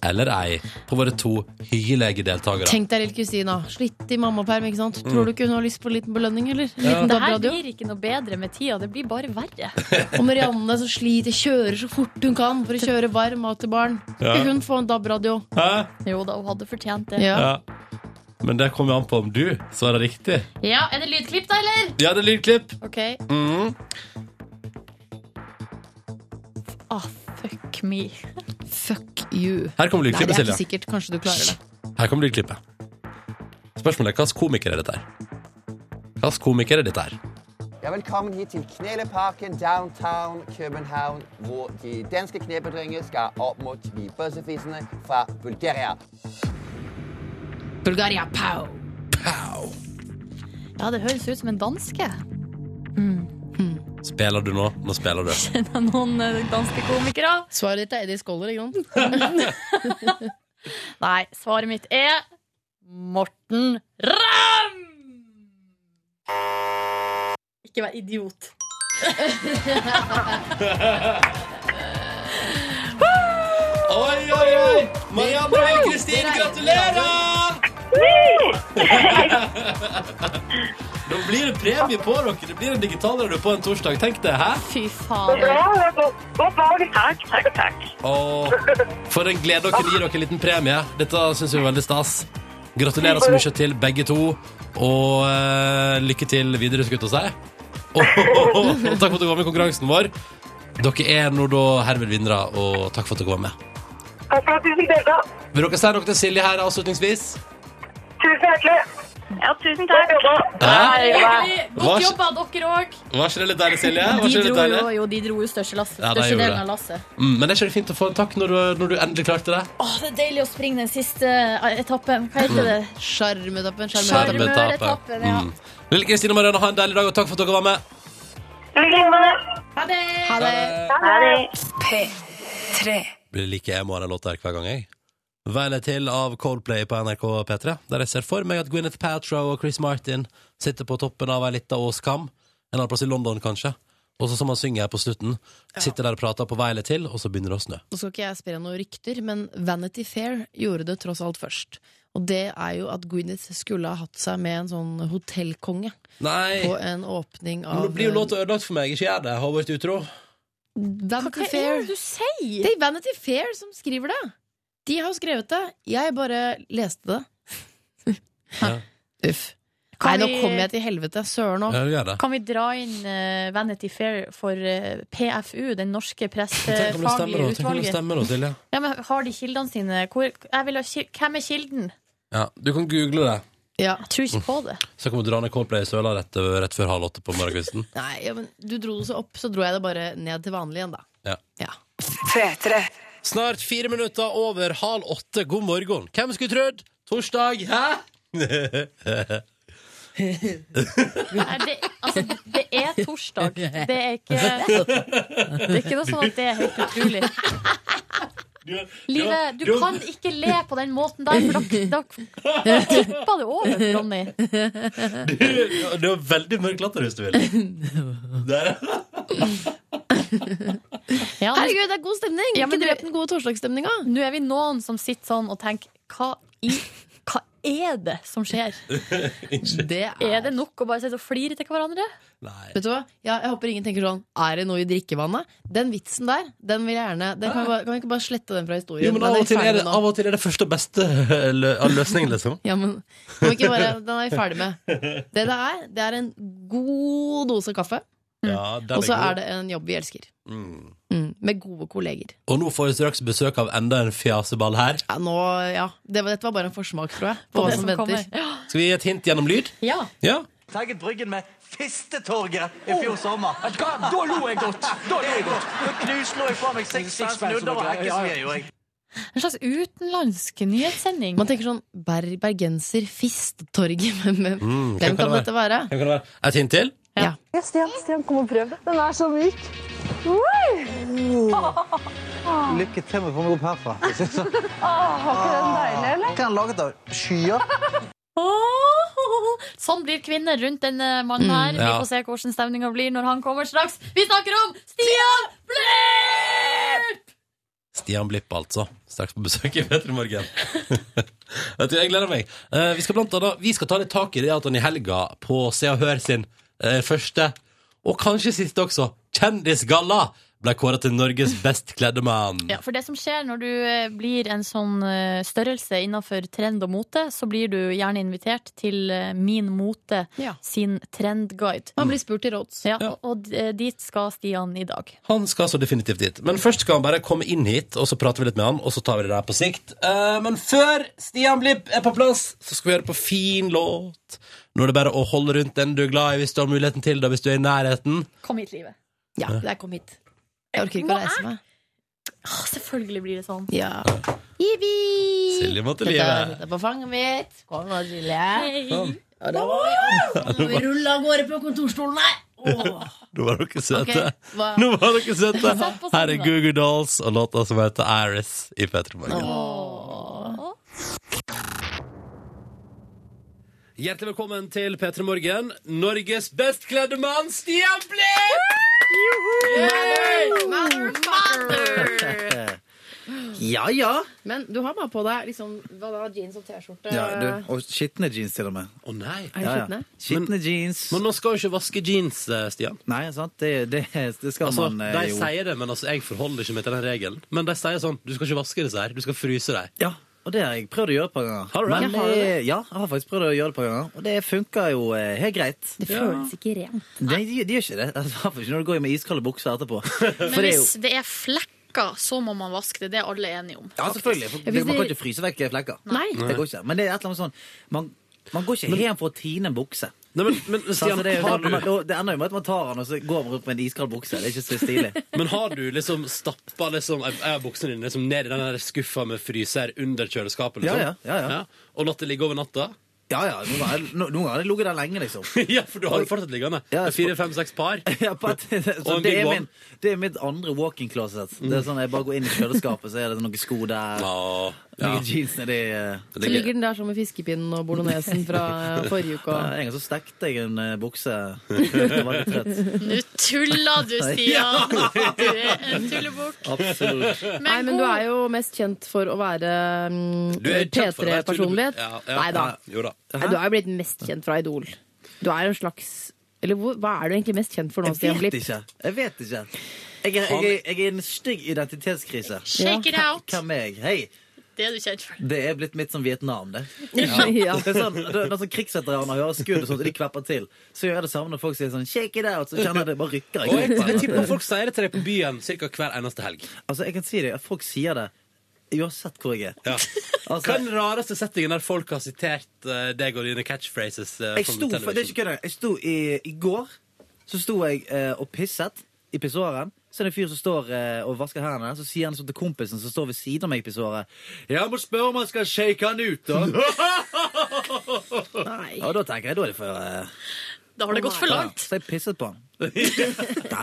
eller ei på våre to hyggelige deltakere. Tenk deg, lille Kristina. Slitt i mammaperm, ikke sant? Mm. Tror du ikke hun har lyst på en liten belønning, eller? En liten Det her DAB-radio? blir ikke noe bedre med tida. Det blir bare verre. Og Marianne som sliter, kjører så fort hun kan for å kjøre varm mat til barn. Skal Ja. hun få en DAB-radio? Hæ? Jo da, hun hadde fortjent det. Ja. Ja. Men det kommer jo an på om du svarer riktig. Ja, Er det lydklipp, da, eller? Ja, det er lydklipp. Mm. OK. Ah, fuck me. Fuck you. Her kommer Nei, det lydklippet, er ikke Silje. sikkert. Kanskje du klarer det. Her kommer lydklippet. Spørsmålet er hvilken komiker er dette her? Hvilken komiker er dette her? Ja, velkommen hit til Kneleparken downtown København, hvor de danske knebedringer skal opp mot de bøssefisene fra Bulgaria. Bulgaria, pow! Ja, det høres ut som en danske. Spiller du nå? Nå spiller du. Kjenner jeg noen eh, danske komikere? Svaret ditt er Eddie Scholler, ikke Nei, svaret mitt er Morten Ramm! Ikke vær idiot. Oi, oi, oi! Maria Brei Kristin, gratulerer! Da blir det premie på dere. Det blir en digital radio på en torsdag. Tenk det, hæ? Fy Så bra. faen. det er Godt, godt valg. Takk, takk, takk. Og for en glede å kunne gi dere en liten premie. Dette syns vi er veldig stas. Gratulerer så mye til begge to, og eh, lykke til videre, skulle jeg til å si. Og, takk for at du var med i konkurransen vår. Dere er nå da herved vinnere, og takk for at dere var med. Takk for at du fikk delta. Vil dere si noe til Silje her avslutningsvis? Tusen hjertelig. Ja, tusen takk. Godt jobba. Hæ? Hva- Godt jobba, dere òg. Var ikke det litt deilig, Silje? Var De ikke det litt dro jo, deilig? jo, de dro jo største, lass, Ja, de største gjorde delen det. av lasset. Mm, men er ikke det fint å få en takk når du, når du endelig klarte det? Åh, det er deilig å springe den siste eh, etappen. Hva heter det? sant? Sjarmetappen, Sjarm- sjarmetappen. Sjarmøretappen, ja. Mm. Lille Kristine og Marianne, ha en deilig dag, og takk for at dere var med. I like måte. Ha det! Ha det. Ha det. P3. blir like emo av den låta her hver gang, jeg. Veiler til av Coldplay på NRK P3, der jeg ser for meg at Gwyneth Paltrow og Chris Martin sitter på toppen av ei lita åskam, en annen plass i London kanskje, og så som han synger her på slutten, sitter der og prater på Veiler til, og så begynner det å snø. Nå skal ikke jeg spre noen rykter, men Vanity Fair gjorde det tross alt først. Og det er jo at Gwyneth skulle ha hatt seg med en sånn hotellkonge Nei! på en åpning Men av nå blir jo låta ødelagt for meg, ikke gjør det. Har vært utro. Vanity Hva er Fair. det du sier? Det er Vanity Fair som skriver det! De har jo skrevet det. Jeg bare leste det. Ja. Uff. Nei, Kan nå vi- kom jeg til helvete. Søren òg. Ja, du gjør det. Kan vi dra inn eh, Vanity Fair for eh, PFU, den norske Eh, Tenk om det stemmer, pressefaglige da. Tenk om det utvalget? stemmer, da, Silje. Ja, men Har de kildene sine? Hvor, jeg vil ha, kil- hvem er kilden? Ja, du kan google det. Ja. Jeg tror ikke på det. Så kan vi dra ned Coldplay i søla rett, rett før halv åtte på morgenkvisten. Nei, ja, men du dro det så opp, så dro jeg det bare ned til vanlig igjen, da. Ja. Ja. P3. Snart fire minutter over halv åtte. God morgen. Hvem skulle trodd? Torsdag, hæ? Er det, altså, det er torsdag. Det er ikke Det er ikke noe sånn at det er helt utrolig. Live, du kan ikke le på den måten der, for da, da tipper det over, Ronny. Du, du har veldig mørk latter, hvis du vil. Der. Ja, nå- Herregud, det er god stemning! Ja, men ikke du- drep den gode torsdagsstemninga. nå er vi noen som sitter sånn og tenker Hva i hva er det som skjer? Det Er det nok å bare sitte og flire til hverandre? Nei. Vet du hva? Ja, jeg håper ingen tenker sånn Er det noe i drikkevannet? Den vitsen der, den vil jeg gjerne den kan, vi bare, kan vi ikke bare slette den fra historien? Jo, men Den av og, vi til er ferdig det, med nå. av og til er det første og beste eh, lø- av løsningen, liksom. ja, men, kan vi ikke bare, Den er vi ferdig med. Det det er, det er en god dose kaffe, Ja, den Mm. og så god. er det en jobb vi elsker. Mm. Mm, med gode kolleger. Og nå får vi straks besøk av enda en fjaseball her. Ja, nå, ja. Det var, dette var bare en forsmak, tror jeg, På på hva det som som kommer. venter. Skal vi gi et hint gjennom lyd? Ja. Ja. Tagget Bryggen med Fistetorget i fjor sommer. Da lo jeg godt! Da lo jeg godt. Da knuslo jeg fra meg seks seks minutter og ikke så mye, gjorde jeg. En slags utenlandsk nyhetssending. Man tenker sånn ber, Bergenser, Fisttorget, men men Mm, hvem kan det dette være? Hvem kan det være? Et hint til? Lykke til med å komme opp herfra. Var ikke den deilig, eller? Hva er den laget av? Skyer? Åh, Sånn blir kvinner rundt denne mannen her. Vi Ja. får se hvordan stemninga blir når han kommer straks. Vi snakker om Stian Blipp! Stian Blipp, altså. Straks på besøk i Petter i morgen. Vet du, jeg gleder meg. Eh, vi, skal blant annet, vi skal ta litt tak i det at han i helga på Se og Hør sin eh, første, og kanskje siste også, Kjendisgalla ble kåra til Norges best kledde mann. Ja, for det som skjer når du eh, blir en sånn eh, størrelse innenfor trend og mote, så blir du gjerne invitert til eh, Min Mote sin trendguide. Man blir spurt i råds. Ja, og- og eh, dit skal Stian i dag. Han skal så definitivt dit. Men først skal han bare komme inn hit, og så prater vi litt med han, og så tar vi det der på sikt. Eh, men før Stian blir er på plass, så skal vi høre på fin låt. Nå er det bare å holde rundt den du er glad i, hvis du har muligheten til det, hvis du er i nærheten. Kom hit, livet. Ja, det er kom hit. Jeg orker ikke å reise meg. Ah, selvfølgelig blir det sånn. Ja. Silje måtte Dette er- livet. dette er på fanget mitt. Kom nå, Silje. Sånn. Og da må vi rulle av gårde på kontorstolen her. Nå var dere søte. Ok, hva- Nå var dere søte. Sett på sånn, Her er da. Google Dolls og låta som heter Iris i P3 Morgen. Hjertelig velkommen til P3 Morgen. Norges best kledde mann, Stian Blipp! Ja, ja. Men du har bare på deg liksom, hva da, jeans og T-skjorte. ja du. Eh. Og skitne jeans, til og med. Å nei. Er det skitne? Skitne jeans. Men man skal jo ikke vaske jeans, eh, Stian. Nei, sant? Det, det, det skal Altså, man eh, de jo. sier det, men altså, jeg forholder ikke meg til den regelen. Men de sier sånn, du skal ikke vaske disse her, du skal fryse dem. Ja, og det har jeg prøvd å gjøre et par ganger. Har du det? Men Ja, har eh, du det? Ja, jeg har faktisk prøvd å gjøre det et par ganger, og det funker jo eh, helt greit. Det føles ikke rent. Nei, de, de gjør ikke det. I hvert fall ikke når du går med iskalde bukser etterpå. Men For det er hvis jo det er flekker, så må man vaske det. Det er alle enige om. Ja, selvfølgelig. For Ja, det, hvis man kan de- ikke fryse vekk flekker. Nei. Det går ikke. Men det er et eller annet sånn Man, man går ikke Men- hjem for å tine en bukse. Nei, men, men Så, Stian, altså, det, er jo har sånn- du, man- det ender jo med at man tar den, og så går man rundt med en iskald bukse. Det er ikke så stilig. men har du liksom stappa liksom, jeg har buksene dine liksom, ned i den der skuffa med fryser under kjøleskapet? Liksom. Ja, ja, ja, ja. Og latt det ligge over natta? Ja, ja. Noen ganger noen ganger har det ligget der lenge, liksom. ja, for du har jo fortsatt liggende. Ja, jeg- Fire, fem, seks par. Ja, på at- Og så en det, big er one. min, det er mitt andre walk-in closet. Det er sånn Jeg bare går inn i kjøleskapet, så er det noen sko der. ja. Noen jeans nedi eh. Så ligger den der sånn med fiskepinnen og bolognesen fra forrige uke. Ja, og- En gang så stekte jeg en eh, bukse. Jeg var litt trøtt. Nå tuller du, Stian! Du er en tullebukk. Absolutt. Nei, men du er jo mest kjent for å være mm, Du er kjent for å være P3-personlighet. tullebukk. Ja, ja. Nei da. Jo da. Nei, du er jo blitt mest kjent fra Idol. Du er jo en slags Eller hvor- hva er du egentlig mest kjent for nå, Stian Jeg Blipp? vet ikke. Jeg vet ikke. Jeg er, jeg, er- jeg er i en stygg identitetskrise. Shake it out. Hvem er jeg? Hei. Det er du kjent for. Det er blitt mitt som Vietnam, det. Ja. Ja. det er sånn, det- når sånn krigsveteraner hører skudd og sånt, og de kvepper til, så gjør jeg det samme når folk sier sånn 'shake it out', så kjenner jeg det bare rykker. i Og jeg, kroppen. jeg tipper folk sier det til deg på byen cirka hver eneste helg. Altså, jeg kan si det, at folk sier det uansett hvor jeg er. Ja. Altså- Hva er den rareste settingen der folk har sitert eh, deg og dine catchphrases? eh, Jeg from sto, the for, det er television? ikke kødd, engang. jeg sto i, i går Så sto jeg eh, og pisset i pissoaren. Så er det en fyr som står eh, og vasker hendene, så sier han sånn til kompisen som står ved siden av meg i pissoaret Jeg må spørre om han skal shake han ut, da. Nei. Og da tenker jeg da er det for eh, Da har det gått for ja, langt. Så jeg pisset på han. Nei,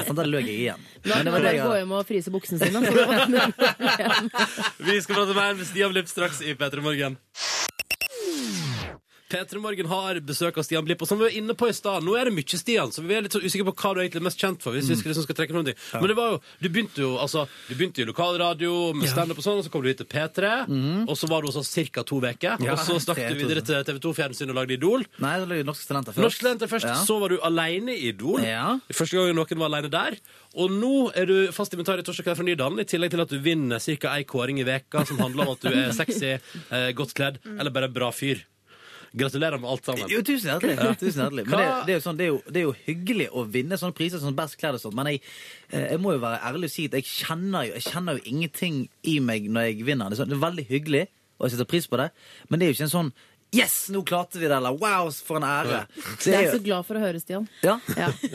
sant, da løy jeg igjen. Da kan Men det man var det bare gå jeg hjem og fryse buksene sine. så da- Vi skal prate mer med Stian Blipp straks i P3 Morgen. P3 Morgen har besøk av Stian Blipp, og som vi var inne på i stad, nå er det mye Stian, så vi er litt sånn usikre på hva du er egentlig er mest kjent for. hvis vi skal- liksom skal trekke frem ting. Men det var jo, du begynte jo altså, du begynte i lokalradio med standup og sånn, og så kom du hit til P3, og så var du hos oss ca. to uker, Mhm. Ja, og så stakk det du er to videre til TV 2 Fjernsyn og lagde Idol. Nei, det løy Norske Talenter først. Norsk Talenter først, Ja. så var du aleine i Idol. Ja. Første gangen noen var aleine der. Og nå er du fast inventar i Torsdag kveld fra Nydalen, i tillegg til at du vinner ca. ei kåring i veka som handler om at du er sexy, eh, godt kledd eller bare bra fyr. Gratulerer med alt sammen. Mm. Jo, tusen hjertelig. Tusen hjertelig. Men det, det, er jo sånn, det, er jo, det er jo hyggelig å vinne sånne priser som Best kledd og sånt, men jeg, eh, jeg må jo være ærlig og si at jeg kjenner jo, jeg kjenner jo ingenting i meg når jeg vinner. Det er, sånn, det er veldig hyggelig, og jeg setter pris på det, men det er jo ikke en sånn Yes, nå klarte vi det! Eller wow, for en ære! Det er jeg jo- så glad for å høre, Stian. ja.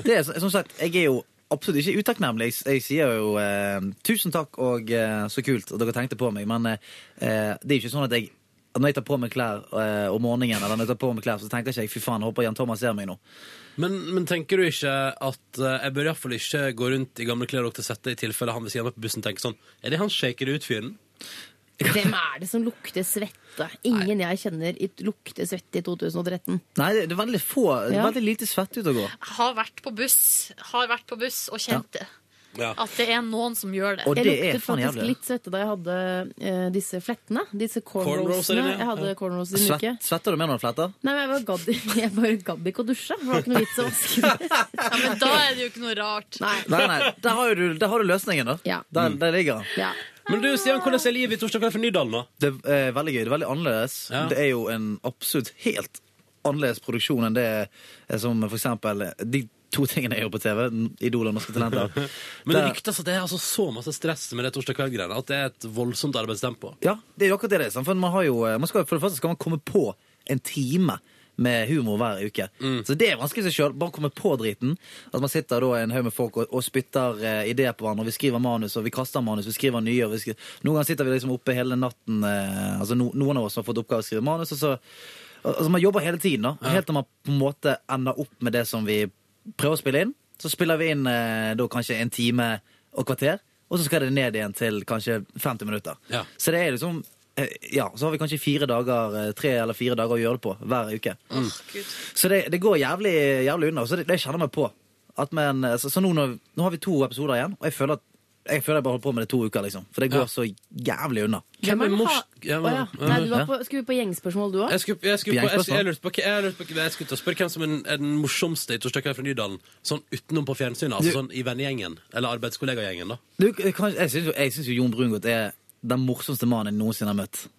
Det er, som sagt, jeg er jo absolutt ikke utakknemlig. Jeg, jeg sier jo eh, tusen takk og eh, så kult at dere tenkte på meg, men eh, eh, det er jo ikke sånn at jeg at når jeg tar på meg klær eh, om morgenen, eller når jeg tar på meg klær, så tenker ikke jeg fy faen, håper Jan Thomas ser meg nå. Men, men tenker du ikke at eh, jeg bør iallfall ikke gå rundt i gamle klær og til sette i tilfelle han ved siden av meg på bussen tenker sånn Er det han shaker det ut fyren? Hvem er det som lukter svette? Ingen jeg kjenner i- lukter svette i 2013. Nei, det, det er veldig få, det er Ja. veldig lite svett ute og går. Har vært på buss, har vært på buss og kjent det. Ja. At det er noen som gjør det. jeg luktet faktisk litt svette da jeg hadde eh, disse flettene. Disse Cornrows, er cornrowsene. det det? Jeg hadde Ja. cornrows i en uke. Svett, svetter du mer når du fletter? Nei, men jeg bare gadd jeg bare gadd ikke å dusje. For det var ikke noe vits å vaske det. Ja, men da er det jo ikke noe rart. Nei, nei, der har, jo du, der har du løsningen, da. Der, der ligger den. Men du, Stian, hvordan er livet i torsdag kveld for Nydalen, da? Det er veldig gøy. Det er veldig annerledes. Det er jo en absolutt helt annerledes produksjon enn det eh, som for eksempel eh, de to tingene jeg gjør på TV. Idol og Norske Talenter. Men det Der- ryktes at det er altså så masse stress med det torsdag kveld-greiene. At det er et voldsomt arbeidstempo. Ja, det er jo akkurat det det er. sant? For, man har jo, eh, man skal, for det første skal man komme på en time med humor hver uke. Så det er vanskelig i seg sjøl. Bare komme på driten. At man sitter da en haug med folk og, og spytter eh, ideer på hverandre. og Vi skriver manus, og vi kaster manus, vi skriver nye. og vi skri... Noen ganger sitter vi liksom oppe hele natten. Eh, altså no, Noen av oss har fått oppgave å skrive manus, og så al- Altså Man jobber hele tiden, da. Helt til man på en måte ender opp med det som vi prøver å spille inn. Så spiller vi inn eh, da kanskje en time og kvarter, og så skal det ned igjen til kanskje 50 minutter. Ja. Så det er liksom eh, Ja, så har vi kanskje fire dager, eh, tre eller fire dager å gjøre det på hver uke. Mm. Så det, det går jævlig, jævlig unna. Så det, det kjenner jeg meg på. At men, eh, så så nå, når, nå har vi to episoder igjen, og jeg føler at jeg føler jeg bare holder på med det i to uker, liksom. For det går Ja. så jævlig unna. Hvem er den ha- Ja, Å, men- ja. Nei, du var Ja. på, skulle på gjengspørsmål, du òg? Jeg skulle, jeg, skulle på, jeg, Gjengspørsmål. skulle- jeg, lurte på, jeg, lurte på, jeg skulle til å spørre hvem som er den- er den morsomste i Torsdag kveld fra Nydalen. Sånn utenom på fjernsynet, altså Du- sånn i vennegjengen. Eller arbeidskollegagjengen, da. Du, kan, jeg syns jo, jeg synes jo Jon Brungot er den morsomste mannen jeg noensinne har møtt.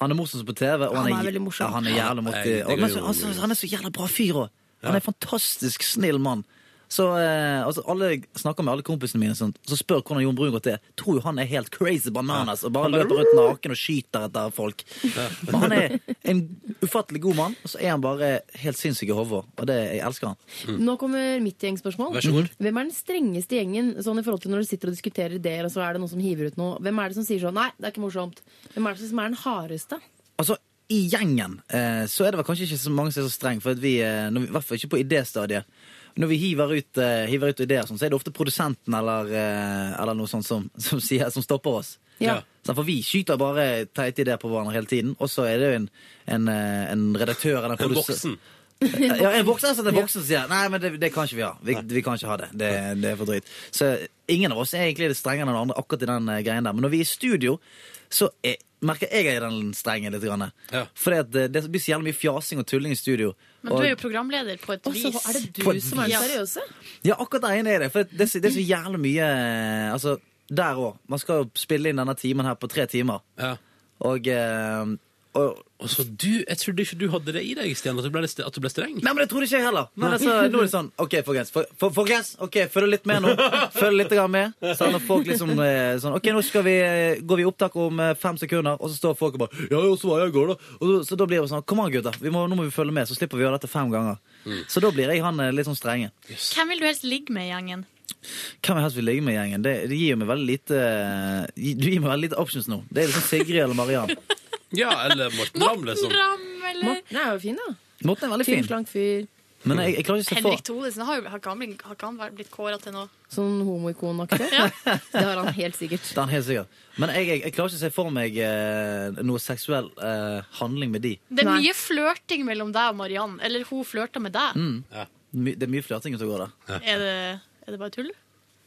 Han er morsomst på TV, og han, Han er veldig morsom. Ja, han er jævla måttig. Jeg- jeg- og- men så- altså, Han er så jævla bra fyr òg. Han er en fantastisk snill mann. Så eh, altså, alle jeg snakker med alle kompisene mine sånn, så spør hvordan Jon Brungot er. Tror jo han er helt crazy bananas og bare Han bare- løper rundt naken og skyter etter folk. Men han er en ufattelig god mann, og så er han bare helt sinnssyk i hodet. Og det, jeg elsker han. Nå kommer mitt gjengspørsmål. Vær så god. Hvem er den strengeste i gjengen sånn i forhold til når du sitter og diskuterer ideer, og så er det noen som hiver ut noe? Hvem er det som sier sånn 'nei, det er ikke morsomt'? Hvem er det som er den hardeste? Altså, i gjengen eh, så er det vel kanskje ikke så mange som er så streng, for at vi, eh, når vi, i hvert fall ikke på idéstadiet. Når vi hiver ut, eh, hiver ut ideer, og sånn, så er det ofte produsenten eller, eh, eller noe sånt som, som, sier, som stopper oss. Ja. Sånn, For vi skyter bare teite ideer på hverandre hele tiden, og så er det jo en, en, eh, en redaktør eller En en produsent. voksen. Ja, en voksen som er voksen sier Nei, men det, det kan ikke vi ha. Vi, vi kan ikke ha det. Det, det er for drøyt. Så ingen av oss er egentlig litt strengere enn den andre akkurat i den eh, greien der. Men når vi er i studio, så er, merker jeg jeg er den strenge litt. Grann. Fordi at det, det blir så jævlig mye fjasing og tulling i studio. Men du og, er jo programleder på et vis. er det du På et som er den vis. seriøse? ja, akkurat der inne er det. For det, er så- det er så jævlig mye eh, Altså, der òg. Man skal jo spille inn denne timen her på tre timer. Og, eh, og Så du, jeg trodde ikke du hadde det i deg, Stian, at du ble, litt- at du ble streng. Nei, men det trodde ikke jeg heller. Men altså, nå er det sånn OK, folkens. For, for, folkens, ok, Følg litt med nå. Følg litt grann med. Så når folk liksom eh, sånn OK, nå skal vi, eh, går vi i opptak om eh, fem sekunder, og så står folk og bare Ja, jo, så var jeg i går, da. Og så, så da blir det sånn Kom an, gutter. Vi må, nå må vi følge med, så slipper vi å gjøre dette fem ganger. Så da blir jeg han eh, litt sånn strenge. Hvem vil du helst ligge med i gjengen? Hvem jeg helst vil ligge med i gjengen? Det, det gir meg veldig lite gi- Du gir meg veldig lite options nå. Det er liksom Sigrid eller Mariann. Ja, eller Morten Ramm, sånn. liksom. Morten er jo fin, da. Morten er veldig Tynn, fin. slank fyr. Men jeg, jeg klarer ikke å få Henrik Thodesen, har, jo- har, ikke han blitt- har ikke han vært- blitt kåra til noe? Sånn homoikonaktig. Det har han helt sikkert. Det er han helt sikkert. Men jeg, jeg, jeg klarer ikke å se for meg eh, noe seksuell eh, handling med de. Det er mye flørting mellom deg og Mariann. Eller hun flørter med deg. Mm. My, det er mye flørting som går der. Er, det, er det bare tull?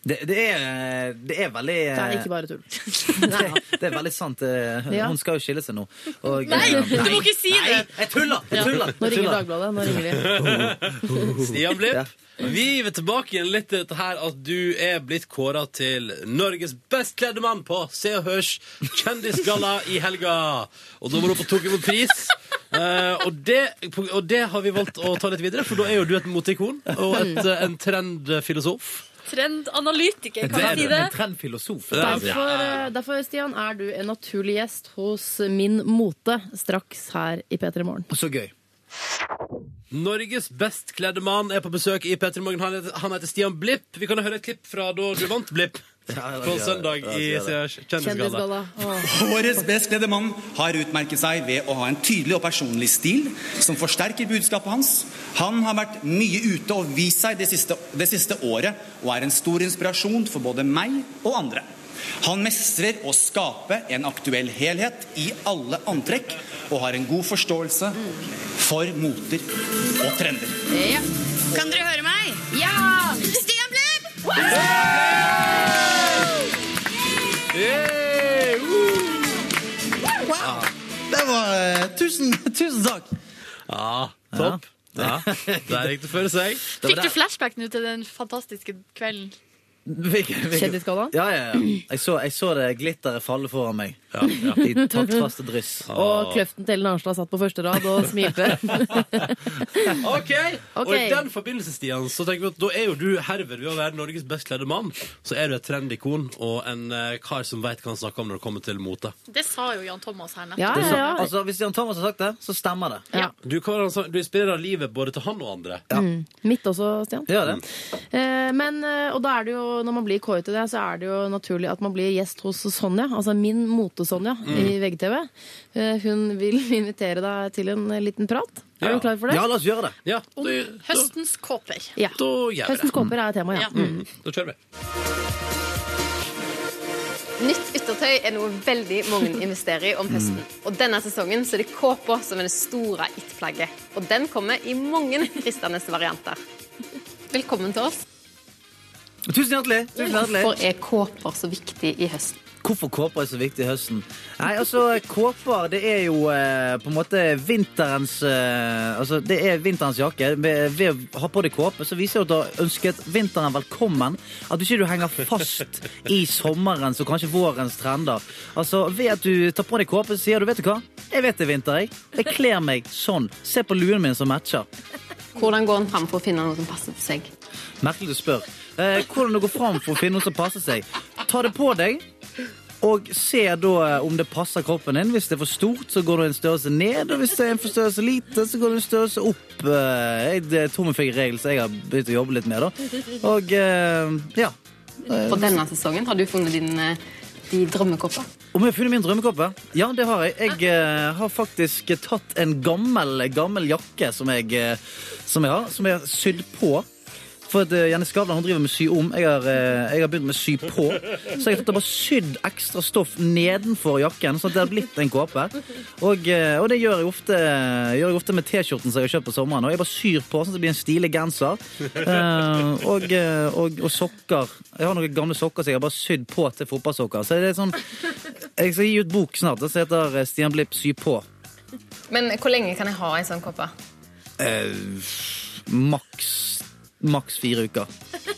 Det, det, er, eh, det er veldig eh, Det er ikke bare tull. det, det er veldig sant. eh, Ja. Hun skal jo skille seg nå. Og, Nei, eh, du må ikke si nei, det! Jeg tuller! Jeg tuller! Nå Jeg ringer tuller. Dagbladet. Nå ringer de. Stian Blipp, vi vil tilbake igjen litt til dette her at du er blitt kåra til Norges best kledde mann på Se og Hørs kjendisgalla i helga. Og da var du på tok imot pris. Eh, og, det, og det har vi valgt å ta litt videre, for da er jo du et moteikon og et, eh, en trendfilosof. Trendanalytiker, kan Det er man si du. det? En trendfilosof. Derfor, eh, derfor, Stian, er du en naturlig gjest hos Min Mote straks her i P3 Morgen. Så gøy. Norges best kledde mann er på besøk i Petter Morgen. Han heter, han heter Stian Blipp. Vi kan jo høre et klipp fra da du vant Blipp. På søndag i Kjendisgalla. Årets best kledde mann har utmerket seg ved å ha en tydelig og personlig stil som forsterker budskapet hans. Han har vært mye ute og vist seg det siste, det siste året og er en stor inspirasjon for både meg og andre. Han mestrer å skape en aktuell helhet i alle antrekk og har en god forståelse for moter og trender. Kan dere høre meg? Ja! Stian Blipp! Tusen, tusen takk! Ja, topp. Ja. Der gikk det for seg. Fikk du flashback nå til den fantastiske kvelden? Kjendisgallaen? Ja, ja, ja. Jeg så, jeg så det glitteret falle foran meg. ja. I taktfaste dryss. Og Kløften til Ellen Arnstad satt på første rad og smilte. OK! Ok. Og i den forbindelse, Stian, så tenker vi at da er jo du herved ved å være Norges best kledde mann. Så er du et trendikon og en eh, kar som veit hva han snakker om når det kommer til mote. Det sa jo Jan Thomas her nettopp. Det er så- Altså, hvis Jan Thomas har sagt det, så stemmer det. Du, hva var det han sa? du inspirerer livet både til han og andre. Mm. altså- Mitt også, Stian. Gjør det. Eh, Men, eh, og da er det jo, når man blir kåret til det, så er det jo naturlig at man blir gjest hos Sonja, altså min mote-Sonja Mm. i VGTV. Eh, Hun vil invitere deg til en eh, liten prat. Er du klar for det? Ja, la oss gjøre det. Om høstens kåper. Ja. Da gjør vi det. Høstens kåper er tema, ja. Mm. Da kjører vi. Nytt yttertøy er noe veldig mange investerer i om høsten. Og denne sesongen så er det kåpa som er det store it-plagget. Og den kommer i mange fristende varianter. Velkommen til oss. Tusen hjertelig. Tusen hjertelig. Hvorfor er kåper så viktig i høsten? Hvorfor kåper er så viktig i høsten? Nei, altså, Kåper det er jo eh, på en måte vinterens eh, Altså, det er vinterens jakke. Ved, ved å ha på deg kåpe så viser du at du har ønsket vinteren velkommen. At du ikke du henger fast i sommerens og kanskje vårens trender. Altså, Ved at du tar på deg kåpe, så sier du 'vet du hva, jeg vet det er vinter, jeg'. Jeg kler meg sånn. Se på luen min som matcher. Hvordan går en fram for å finne noe som passer til seg? Merkelig du spør. Eh, hvordan det går fram for å finne noe som passer seg. Ta det på deg, og se da eh, om det passer kroppen din. Hvis det er for stort, så går du en størrelse ned, og hvis det er en for størrelse lite, så går du en størrelse opp. Eh, jeg- det er tommefingerregel som jeg har begynt å jobbe litt med, da. Og eh, ja. For denne sesongen har du funnet din, eh, de drømmekåper. Om jeg har funnet min drømmekåpe? Ja, det har jeg. Jeg eh, har faktisk tatt en gammel, gammel jakke som jeg, eh, som jeg har, som jeg har sydd på. For at eh, Jenny Skavlan hun driver med sy om. Jeg har, eh, jeg har begynt med sy på. Så jeg har tatt og bare sydd ekstra stoff nedenfor jakken, sånn at det har blitt en kåpe. Og, eh, og det gjør jeg ofte, gjør jeg ofte med T-skjorten som jeg har kjøpt på sommeren. Og jeg bare syr på, sånn at det blir en stilig genser. Eh, og, eh, og, og sokker. Jeg har noen gamle sokker som jeg har bare sydd på til fotballsokker. Så det er sånn jeg skal gi ut bok snart. Den heter eh, Stian Blipp sy på. Men hvor lenge kan jeg ha en sånn kåpe? Eh, maks maks fire uker.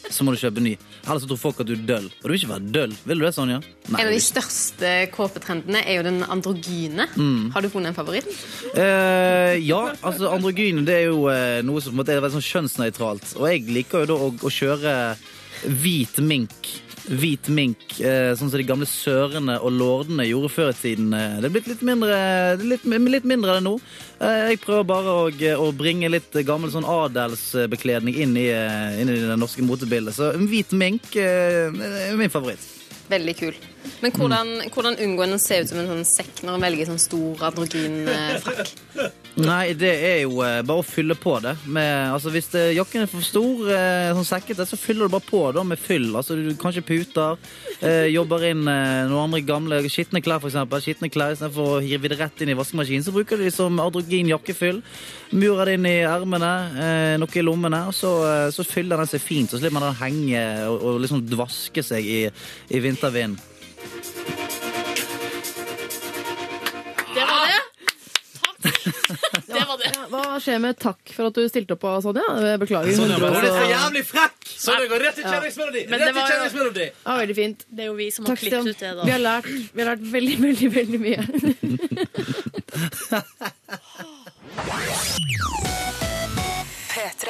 Så må du kjøpe ny. Ellers så tror folk at du er døll. Og du vil ikke være døll. Vil du det, Sonja? en av de du- største kåpetrendene er jo den androgyne. Mm. Har du funnet en favoritt? Eh, ja, altså androgyne det er jo eh, noe som på en måte er veldig sånn kjønnsnøytralt. Og jeg liker jo da å, å kjøre hvit mink. Hvit mink, eh, sånn som de gamle sørene og lordene gjorde før i tiden. Eh, Det er blitt litt mindre, litt, litt mindre av det nå. Eh, Jeg prøver bare å, å bringe litt gammel sånn adelsbekledning inn i, eh, inn i det norske motebildet. Så en hvit mink eh, er min favoritt. Veldig kul. Men hvordan, hvordan unngår en å se ut som en sånn sekk når en velger sånn stor androgyn eh, frakk? Nei, det er jo eh, bare å fylle på det. Med, altså, hvis det, jakken er for stor, eh, sånn sekkete, så fyller du bare på da, med fyll. Altså, du, kanskje puter. Eh, jobber inn eh, noen andre gamle skitne klær, for eksempel. Skitne klær, Istedenfor å hive det rett inn i vaskemaskinen, så bruker du det som adrogin jakkefyll. Murer det inn i ermene, eh, noe i lommene, og så, eh, så fyller den seg fint. Så slipper man den henge og, og liksom dvaske seg i, i vintervinden. Det var det. Det var det. Hva skjer med takk for at du stilte opp, Sonja? Eh, Beklager. Sånn er hundre det. Hun og- er så jævlig frekk! Sånn det går rett i Ja. kjenningsmelodi! Men Rett det i var jo- kjenningsmelodi! Ja, veldig fint. Det er jo vi som Takk, har klippet Stian. ut det, da. Vi har lært, vi har lært veldig, veldig, veldig mye. P3.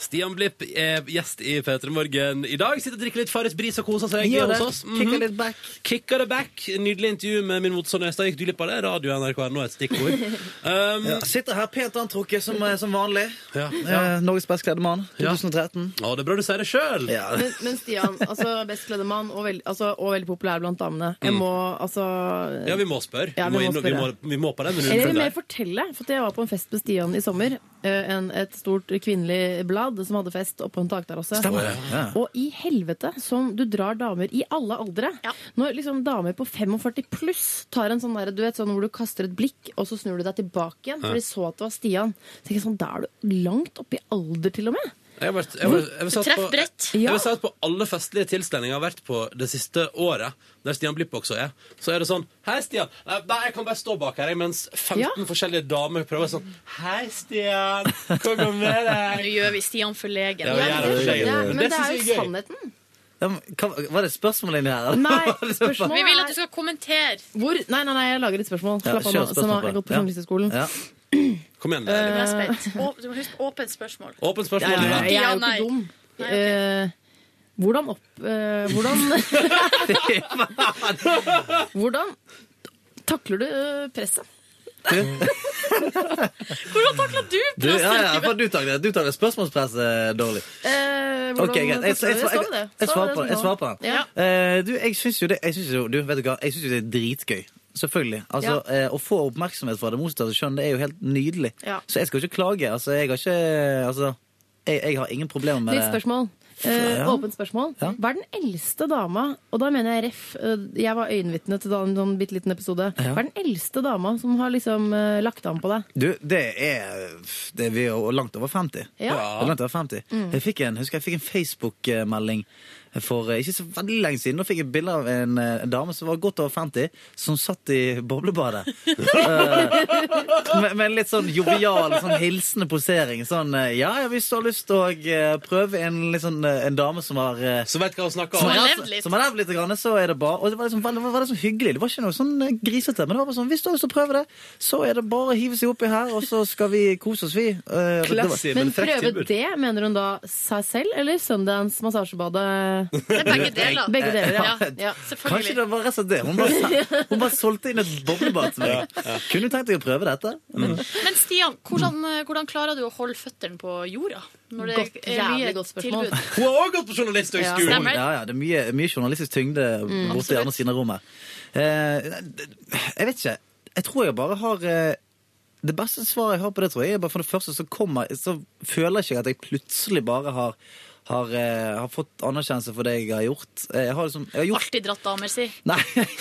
Stian Blipp er gjest i P3 Morgen i dag. Sitter og drikker litt Farris Bris og koser seg Gjør hos det. oss. Mhm. Kicker litt back. Kicker det back. Nydelig intervju med min motorsønn Øystein. Gikk du glipp av det? Radio NRK er nå et stikkord. Um, Ja, sitter her pent antrukket som, eh, som vanlig. ja, ja. Eh, Norges best kledde mann Ja. 2013. Å, det er bra du sier det sjøl! Men, men Stian, altså best kledde mann og, veld, altså, og veldig populær blant damene. Jeg må altså Ja, vi må spørre. Ja, vi, må vi må inn- vi, må, spørre. vi må på den. men Eller unnskyld mer deg. fortelle, for at jeg var på en fest med Stian i sommer. eh, En, et stort kvinnelig blad som hadde fest oppå en takterrasse. Stemmer det, ja. Og i helvete som du drar damer i alle aldre. Når liksom damer på 45 pluss tar en sånn der, du vet, sånn hvor du kaster et blikk, og så snur du deg tilbake igjen, for Ja. de så at det var Stian. Så tenker jeg sånn, Da er du langt oppe i alder, til og med. Jeg har vært, jeg har- jeg har satt Treff på- bredt. Jeg Ja. har satt på alle festlige tilstelninger jeg har vært på det siste året, der Stian Blipp også er. Så er det sånn Hei, Stian. Nei, Nei, jeg kan bare stå bak her, jeg, mens 15 forskjellige damer prøver sånn Hei, Stian. Hva går med deg? Nå gjør vi Stian for legen. Ja, vi gjør det for legen. Ja, men det synes er jo jeg gøy. Ja, men hva- Var det spørsmålet inni her? eller? Vi vil at du skal kommentere. Hvor? Nei, nei, nei, jeg lager et spørsmål. Ja, Slapp av kjør nå. spørsmål Som på har det. jeg gått på Ja. journalisterskolen. Ja. Kom igjen. Eh, Lille. Jeg er spent. Å, Du må huske åpent spørsmål. Åpent spørsmål. Jeg, Lille. jeg, er jo ikke dum. Eh, hvordan opp... eh, hvordan Hvordan takler du eh, presset? Hvordan takla du Du, ja, ja, for du tar det, du tar det spørsmålspresset dårlig. Eh, hvordan Ok, greit. Jeg, jeg, jeg, takler du det? Står det det? jeg, jeg Står svarer det det på den. Jeg som står? svarer på den. Ja. Eh, du, jeg syns jo det jeg synes jo, du, vet du hva, jeg synes jo det er dritgøy. Selvfølgelig. Altså, eh, Å få oppmerksomhet fra det motsatte kjønn det er jo helt nydelig. Ja. Så jeg skal jo ikke klage. Altså, jeg har ikke Altså, jeg, jeg har ingen problemer med Nytt spørsmål. Eh, Ja. Åpent spørsmål. Hva er den eldste dama Og da mener jeg ref. eh, Jeg var øyenvitne til da- en sånn bitte liten episode. Ja. Hva er den eldste dama som har liksom eh, lagt an på deg? Du, det er, det er Vi er jo langt over 50. Ja. Vi er Langt over 50. Mm. Jeg fikk en, husker jeg fikk en Facebook-melding for eh, ikke så veldig lenge siden. Da fikk jeg et bilde av en, eh, dame som var godt over 50, som satt i boblebadet. Eh, med, med en litt sånn jovial, sånn hilsende posering. Sånn eh, Ja, ja, hvis du har lyst til å eh, prøve en, litt sånn, eh, en dame som har eh, Som vet hva hun snakker om. Som Som har har levd levd litt, som har levd litt grann, så er det bra. Og det var, liksom, veldig- var det så hyggelig. Det var ikke noe sånn eh, grisete. Men det var bare sånn, hvis du har lyst til å prøve det, så er det bare å hive seg oppi her, og så skal vi kose oss, vi. Eh, det var- Men prøve det, mener hun da seg selv eller Sundance massasjebadet? Det er begge deler. Begge deler, ja. Ja, ja. Kanskje det var rett og slett det. Hun bare, hun bare solgte inn et boblebad til meg. Kunne du tenkt deg å prøve dette? Men Stian, hvordan, eh, hvordan klarer du å holde føttene på jorda? Når det Godt- er jævlig mye godt spørsmål. tilbud. Hun har òg gått på journalisthøgskolen. Stemmer. Ja, ja, det er mye, mye journalistisk tyngde Mm. borte i andre siden av rommet. Eh, jeg vet ikke. Jeg tror jeg bare har eh, Det beste svaret jeg har på det, tror jeg, er bare for det første så kommer Så føler jeg ikke at jeg plutselig bare har har, eh, har fått anerkjennelse for det jeg har gjort. Eh, Jeg har liksom, jeg har gjort Alltid dratt damer, si. Nei.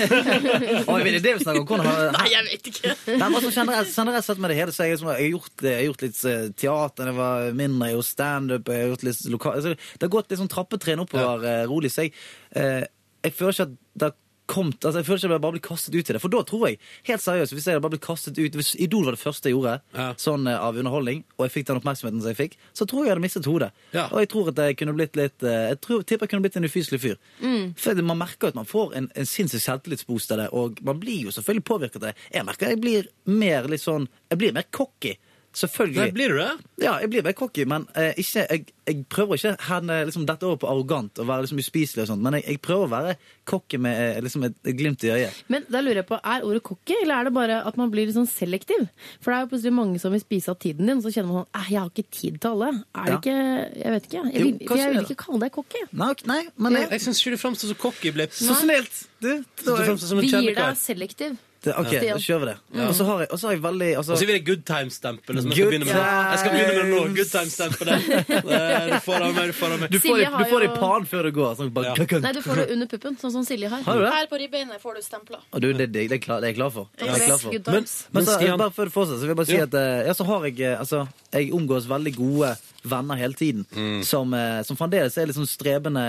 Å, jeg vet, det er det vi snakker om. Hvordan har, Nei, jeg vet ikke. Nei, men altså, generelt, generelt sett med det hele, så jeg, liksom, jeg, har gjort, jeg har gjort litt eh, teater, jeg var mindre, jeg har gjort standup, jeg har gjort litt lokal... Altså, det har gått litt sånn trappetrinn oppover eh, rolig, så jeg, eh, jeg føler ikke at det har kommet, altså jeg føler ikke at jeg bare blir kastet ut i det, for da tror jeg, helt seriøst, hvis jeg hadde bare blitt kastet ut, hvis Idol var det første jeg gjorde, sånn eh, av underholdning, og jeg fikk den oppmerksomheten som jeg fikk, så tror jeg jeg hadde mistet hodet. Og jeg tror at jeg kunne blitt litt, eh, jeg tror, tipper jeg kunne blitt en ufyselig fyr. Mm. For det- Man merker jo at man får en, en sinnssyk selvtillitsboost av det, og man blir jo selvfølgelig påvirket av det. Jeg merker jeg blir mer litt sånn Jeg blir mer cocky. Selvfølgelig. Nei, blir du det? Ja, jeg blir mer cocky, men eh, ikke, jeg, jeg prøver ikke henne liksom, dette over på arrogant og være liksom uspiselig og sånt, men jeg, jeg prøver å være cocky med eh, liksom et, et glimt i øyet. Men da lurer jeg på, er ordet cocky, eller er det bare at man blir litt sånn selektiv? For det er jo plutselig mange som vil spise av tiden din, og så kjenner man sånn, eh, jeg har ikke tid til alle. Er det Ja. ikke, jeg vet ikke, jeg Jo, vil, for kanskje jeg vil det. ikke kalle deg cocky. Nei, men Jeg, jeg syns ikke du framstår så cocky, Blipp. Så snilt! Du, du framstår som en Vi gir kjernekar. deg selektiv. Det, ok, Ja. da kjører vi det. Ja. Og så har jeg, og så har jeg veldig altså, Og så gir vi deg good time-stempelet. som Jeg skal Good begynne med nå. Jeg skal begynne med det nå. Good time-stempelet. Du får av meg, du får av meg. Du får, Silje det, har du får det jo- i pan før du går. Sånn, bare, køkken. Nei, du får det under puppen, sånn som Silje har. Har du det? Her på ribbeinet får du stempla. Og du, det, det, det, er klar, det er jeg klar for. Ja. Det er jeg klar for. Good Men, times. men så, eh, Men Stian- bare før du fortsetter, så vil jeg bare si Ja. at eh, ja, så har jeg eh, altså, Jeg omgås veldig gode venner hele tiden. Mm. Som, eh, som fremdeles er liksom strebende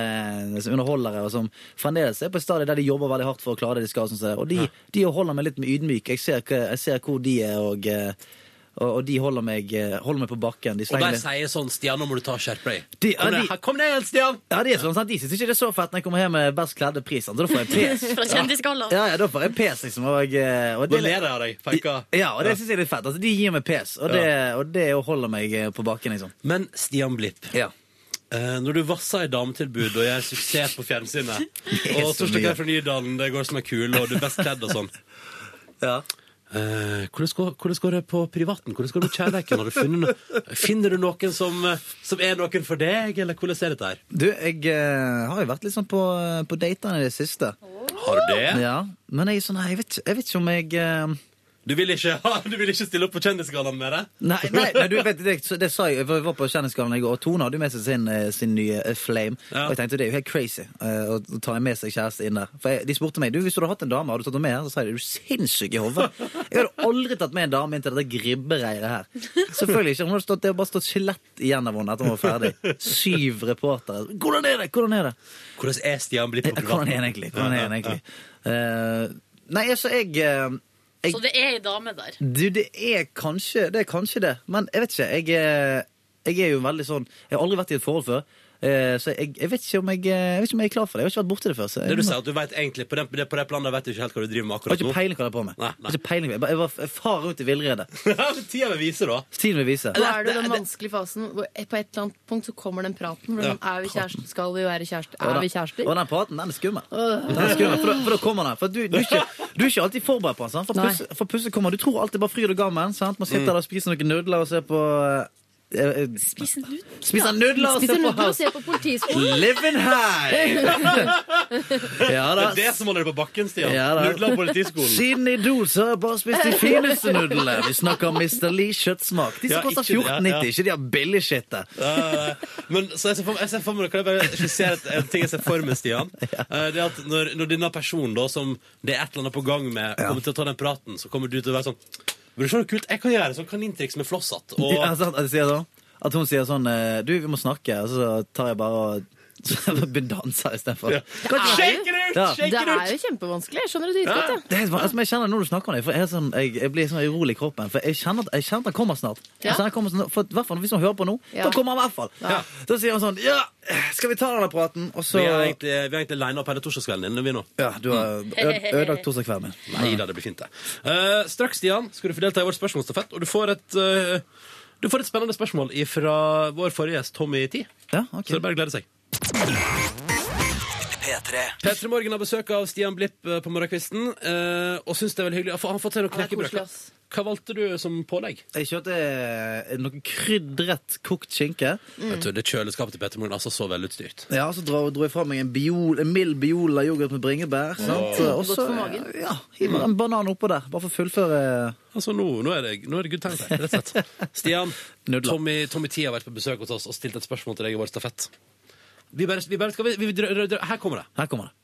liksom, underholdere, og som fremdeles er på et stadium der de jobber veldig hardt for å klare det de skal. og Sånn, som det er. og de, de holder meg litt med ydmyk. Jeg ser, hva- jeg ser hvor de er, og, eh, og, og de holder meg, eh, holder meg på bakken. De Og slenger de litt- sier sånn Stian, nå må du ta og skjerpe deg. de, Kom ned, her- kom ned, Stian! Ja, de, er sånn, sant? de syns ikke det er så fett når jeg kommer hjem med best kledde pris. sant? Så da får jeg pes. Fra kjendisgalla. Ja, ja, da får jeg pes, liksom. Og, eh, og Nå ler jeg av deg, peker. De, ja, og det syns jeg er litt fett. Altså, de gir meg pes, og det, og det holder meg eh, på bakken, liksom. Men Stian Blipp, eh, når du vasser i dametilbud og gjør suksess på fjernsynet, Det er og så Torstein mye. Kvær fra Nydalen, det går som en kule, og du er best kledd og sånn Eh, hvordan, går, hvordan går det på privaten? Hvordan går det med kjærligheten? Har du funnet noe- Finner du noen som, eh, som er noen for deg, eller hvordan er dette her? Du, jeg eh, har jo vært litt sånn på, på datene i det siste. Har du det? Ja, men jeg, er sånn, nei, jeg, vet, ikke- jeg vet ikke om jeg eh, Du vil ikke, du vil ikke stille opp på Kjendisgallaen med det? Nei, nei, nei du vet, det, det sa jeg, for jeg var på Kjendisgallaen i går, og Tone hadde jo med seg sin, eh, sin nye eh, Flame. Og jeg tenkte det er jo helt crazy eh, å å ta med seg kjæreste inn der. For jeg, De spurte meg du, hvis du hadde hatt en dame, hadde du tatt henne med her? Så sa jeg er du sinnssyk i hodet? Jeg hadde aldri tatt med en dame inn til dette gribbereiret her. Selvfølgelig ikke. Hun hadde stått, det hadde bare stått skjelett igjen av henne etter hun var ferdig. Syv reportere. Hvordan er det? Hvordan er det? Hvordan er Stian blitt på privaten? Hvordan er han egentlig? Hvordan er han egentlig? Eh, nei, altså, jeg, eh, jeg Så det er ei dame der. du, det er kanskje det, er kanskje det. men jeg vet ikke. Jeg, eh, jeg er jo veldig sånn Jeg har aldri vært i et forhold før, eh, så jeg, jeg, vet ikke om jeg, eh, jeg vet ikke om jeg er klar for det. Jeg har ikke vært borti det før. Så jeg, Det du sier at du vet egentlig, På den- på det, på det planet vet du ikke helt hva du driver med jeg har akkurat ikke peiling på hva jeg holder på med. Jeg har ikke peiling. Jeg bare- Jeg var jeg far ut i villrede. Tida vil vise, da. Tiden vil vise. Da er det den vanskelige fasen hvor på et eller annet punkt så kommer den praten. Hvor Ja, sånn, er vi kjærester? Skal vi være kjærester? Og Er den- vi kjærester? Og den praten, den er skummel. Øh. Den er skummel, for, da, for da kommer den. For du, du, er ikke, du er ikke alltid forberedt på den. sant? For Nei. plutselig- For plutselig kommer Du tror alt er bare fryd og gammen. sant? Man sitter Mm. der og spiser noen nudler og ser på eh, eh, Spiser nudler? Spiser nudler og Spiser ser på nudler og House. ser på politiskolen. Living high! Ja da. Det er det som holder deg på bakken, Stian. Ja, da. Nudler og politiskolen. Siden Idol så har jeg bare spist de fineste nudlene. Vi snakker om Mr. Lee kjøttsmak. De Ja, som koster ikke det, ja, 14,90, ja. ikke de har billig shit der. Eh, men så jeg ser for meg, jeg ser for meg Kan jeg bare skissere et- en ting jeg ser for meg, Stian? Eh, Det er at når, når denne personen da som det er et eller annet på gang med, kommer til å ta den praten, så kommer du til å være sånn Vil du se noe kult? Jeg kan gjøre sånn kanintriks med flosshatt. Og Ja, sant, at, de sier sånn, at hun sier sånn eh, Du, vi må snakke. Og så tar jeg bare og så begynner å danse istedenfor. Ja. Kan ikke- Ja. Det er jo kjempevanskelig. Jeg skjønner det Ja. dritgodt, jeg. Det er, helt van- altså, men jeg kjenner det når du snakker om det, for jeg, er sånn, jeg, jeg blir sånn urolig i kroppen. For jeg kjenner at, jeg kjenner at han kommer snart. Jeg Ja. kjenner at han kommer snart for, i hvert fall Hvis hun hører på nå, Ja. da kommer han i hvert fall. Ja. Da sier han sånn Ja, skal vi ta denne praten? Og så vi er egentlig, vi er egentlig lina opp hele torsdagskvelden din, vi nå. Ja, du har Mm. ø- ødelagt torsdagskvelden min. Nei da, det blir fint, det. Eh, straks, Stian, skal du få delta i vår spørsmålsstafett, og du får et eh, du får et spennende spørsmål fra vår forrige gjest, Tommy T. Så det er bare å glede seg. P3 Petter Morgen har besøk av Stian Blipp eh, på morgenkvisten, eh, og syns det er veldig hyggelig. Han har fått seg noen Han er koselig, knekkebrød. Hva valgte du som pålegg? Jeg kjørte eh, noe krydret kokt skinke. Vet du, det kjøleskapet til Petter Morgen altså så velutstyrt. Ja, Så dro, dro jeg fra meg en, biol, en mild biola yoghurt med bringebær. Sant? Åh. Og så Godt for magen. ja, hiver jeg en banan oppå der, bare for å fullføre Altså, nå, nå, er det, nå er det good times her, rett og slett. Stian, Tommy, Tommy T har vært på besøk hos oss og stilt et spørsmål til deg i vår stafett. Vi bare, vi bare skal vi, vi, drø- drø- drø- Her kommer det. Her kommer det.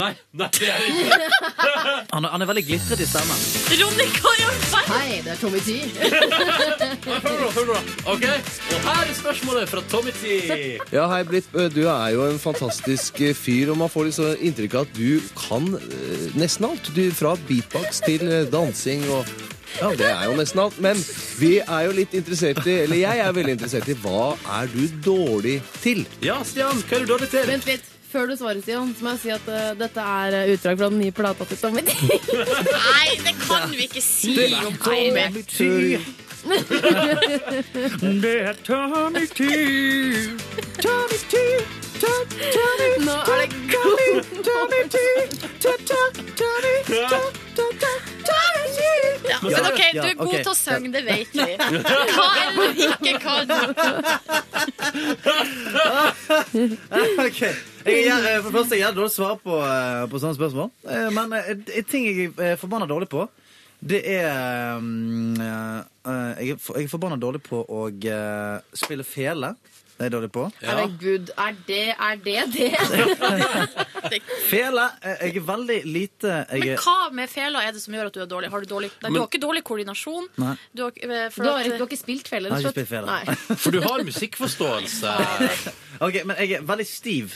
Nei, nei, det er det ikke. Han, er- han er veldig glitret i stemmen. Ronny, hva i all verden? Hei, det er Tommy T. Følg nå, følg nå. OK, og her er spørsmålet fra Tommy T. Ja, hei Blipp, du er jo en fantastisk eh, fyr, og man får litt sånn inntrykk av at du kan eh, nesten alt. Du, fra beatbox til eh, dansing og Ja, det er jo nesten alt. Men vi er jo litt interessert i, eller jeg er veldig interessert i, hva er du dårlig til? Ja, Stian, hva er du dårlig til? Vent litt. Før du svarer, Stian, så må jeg si at eh, dette er eh, utdrag fra den nye plata til Tommy T. Nei, det kan vi ikke si Det om kommer Tommy T. Det er Tommy T. Tommy T. Nå er det god Tommy T. Tommy Ja, Tommy men ok, Du er god ok. til å synge, det vet vi. Hva er det du ikke kan? Ok, jeg, er- eh, For det første, jeg er dårlig til å svare på, eh, på sånne spørsmål. Eh, Men eh, en ting jeg er forbanna dårlig på, det er mm, eh, eh, Jeg er for- jeg er forbanna dårlig på å eh, spille fele. Det er jeg dårlig på. Er det good? Er det er det? det? Fele eh, Jeg er veldig lite jeg Men er, hva med fela er det som gjør at du er dårlig? Har du, dårlig? Nei, Men- du har ikke dårlig koordinasjon. Nei. Du har, eh, for Du har at- ikke- du har ikke spilt fele, Jeg har ikke spilt fele. For du har musikkforståelse. Ok, Men jeg er veldig stiv.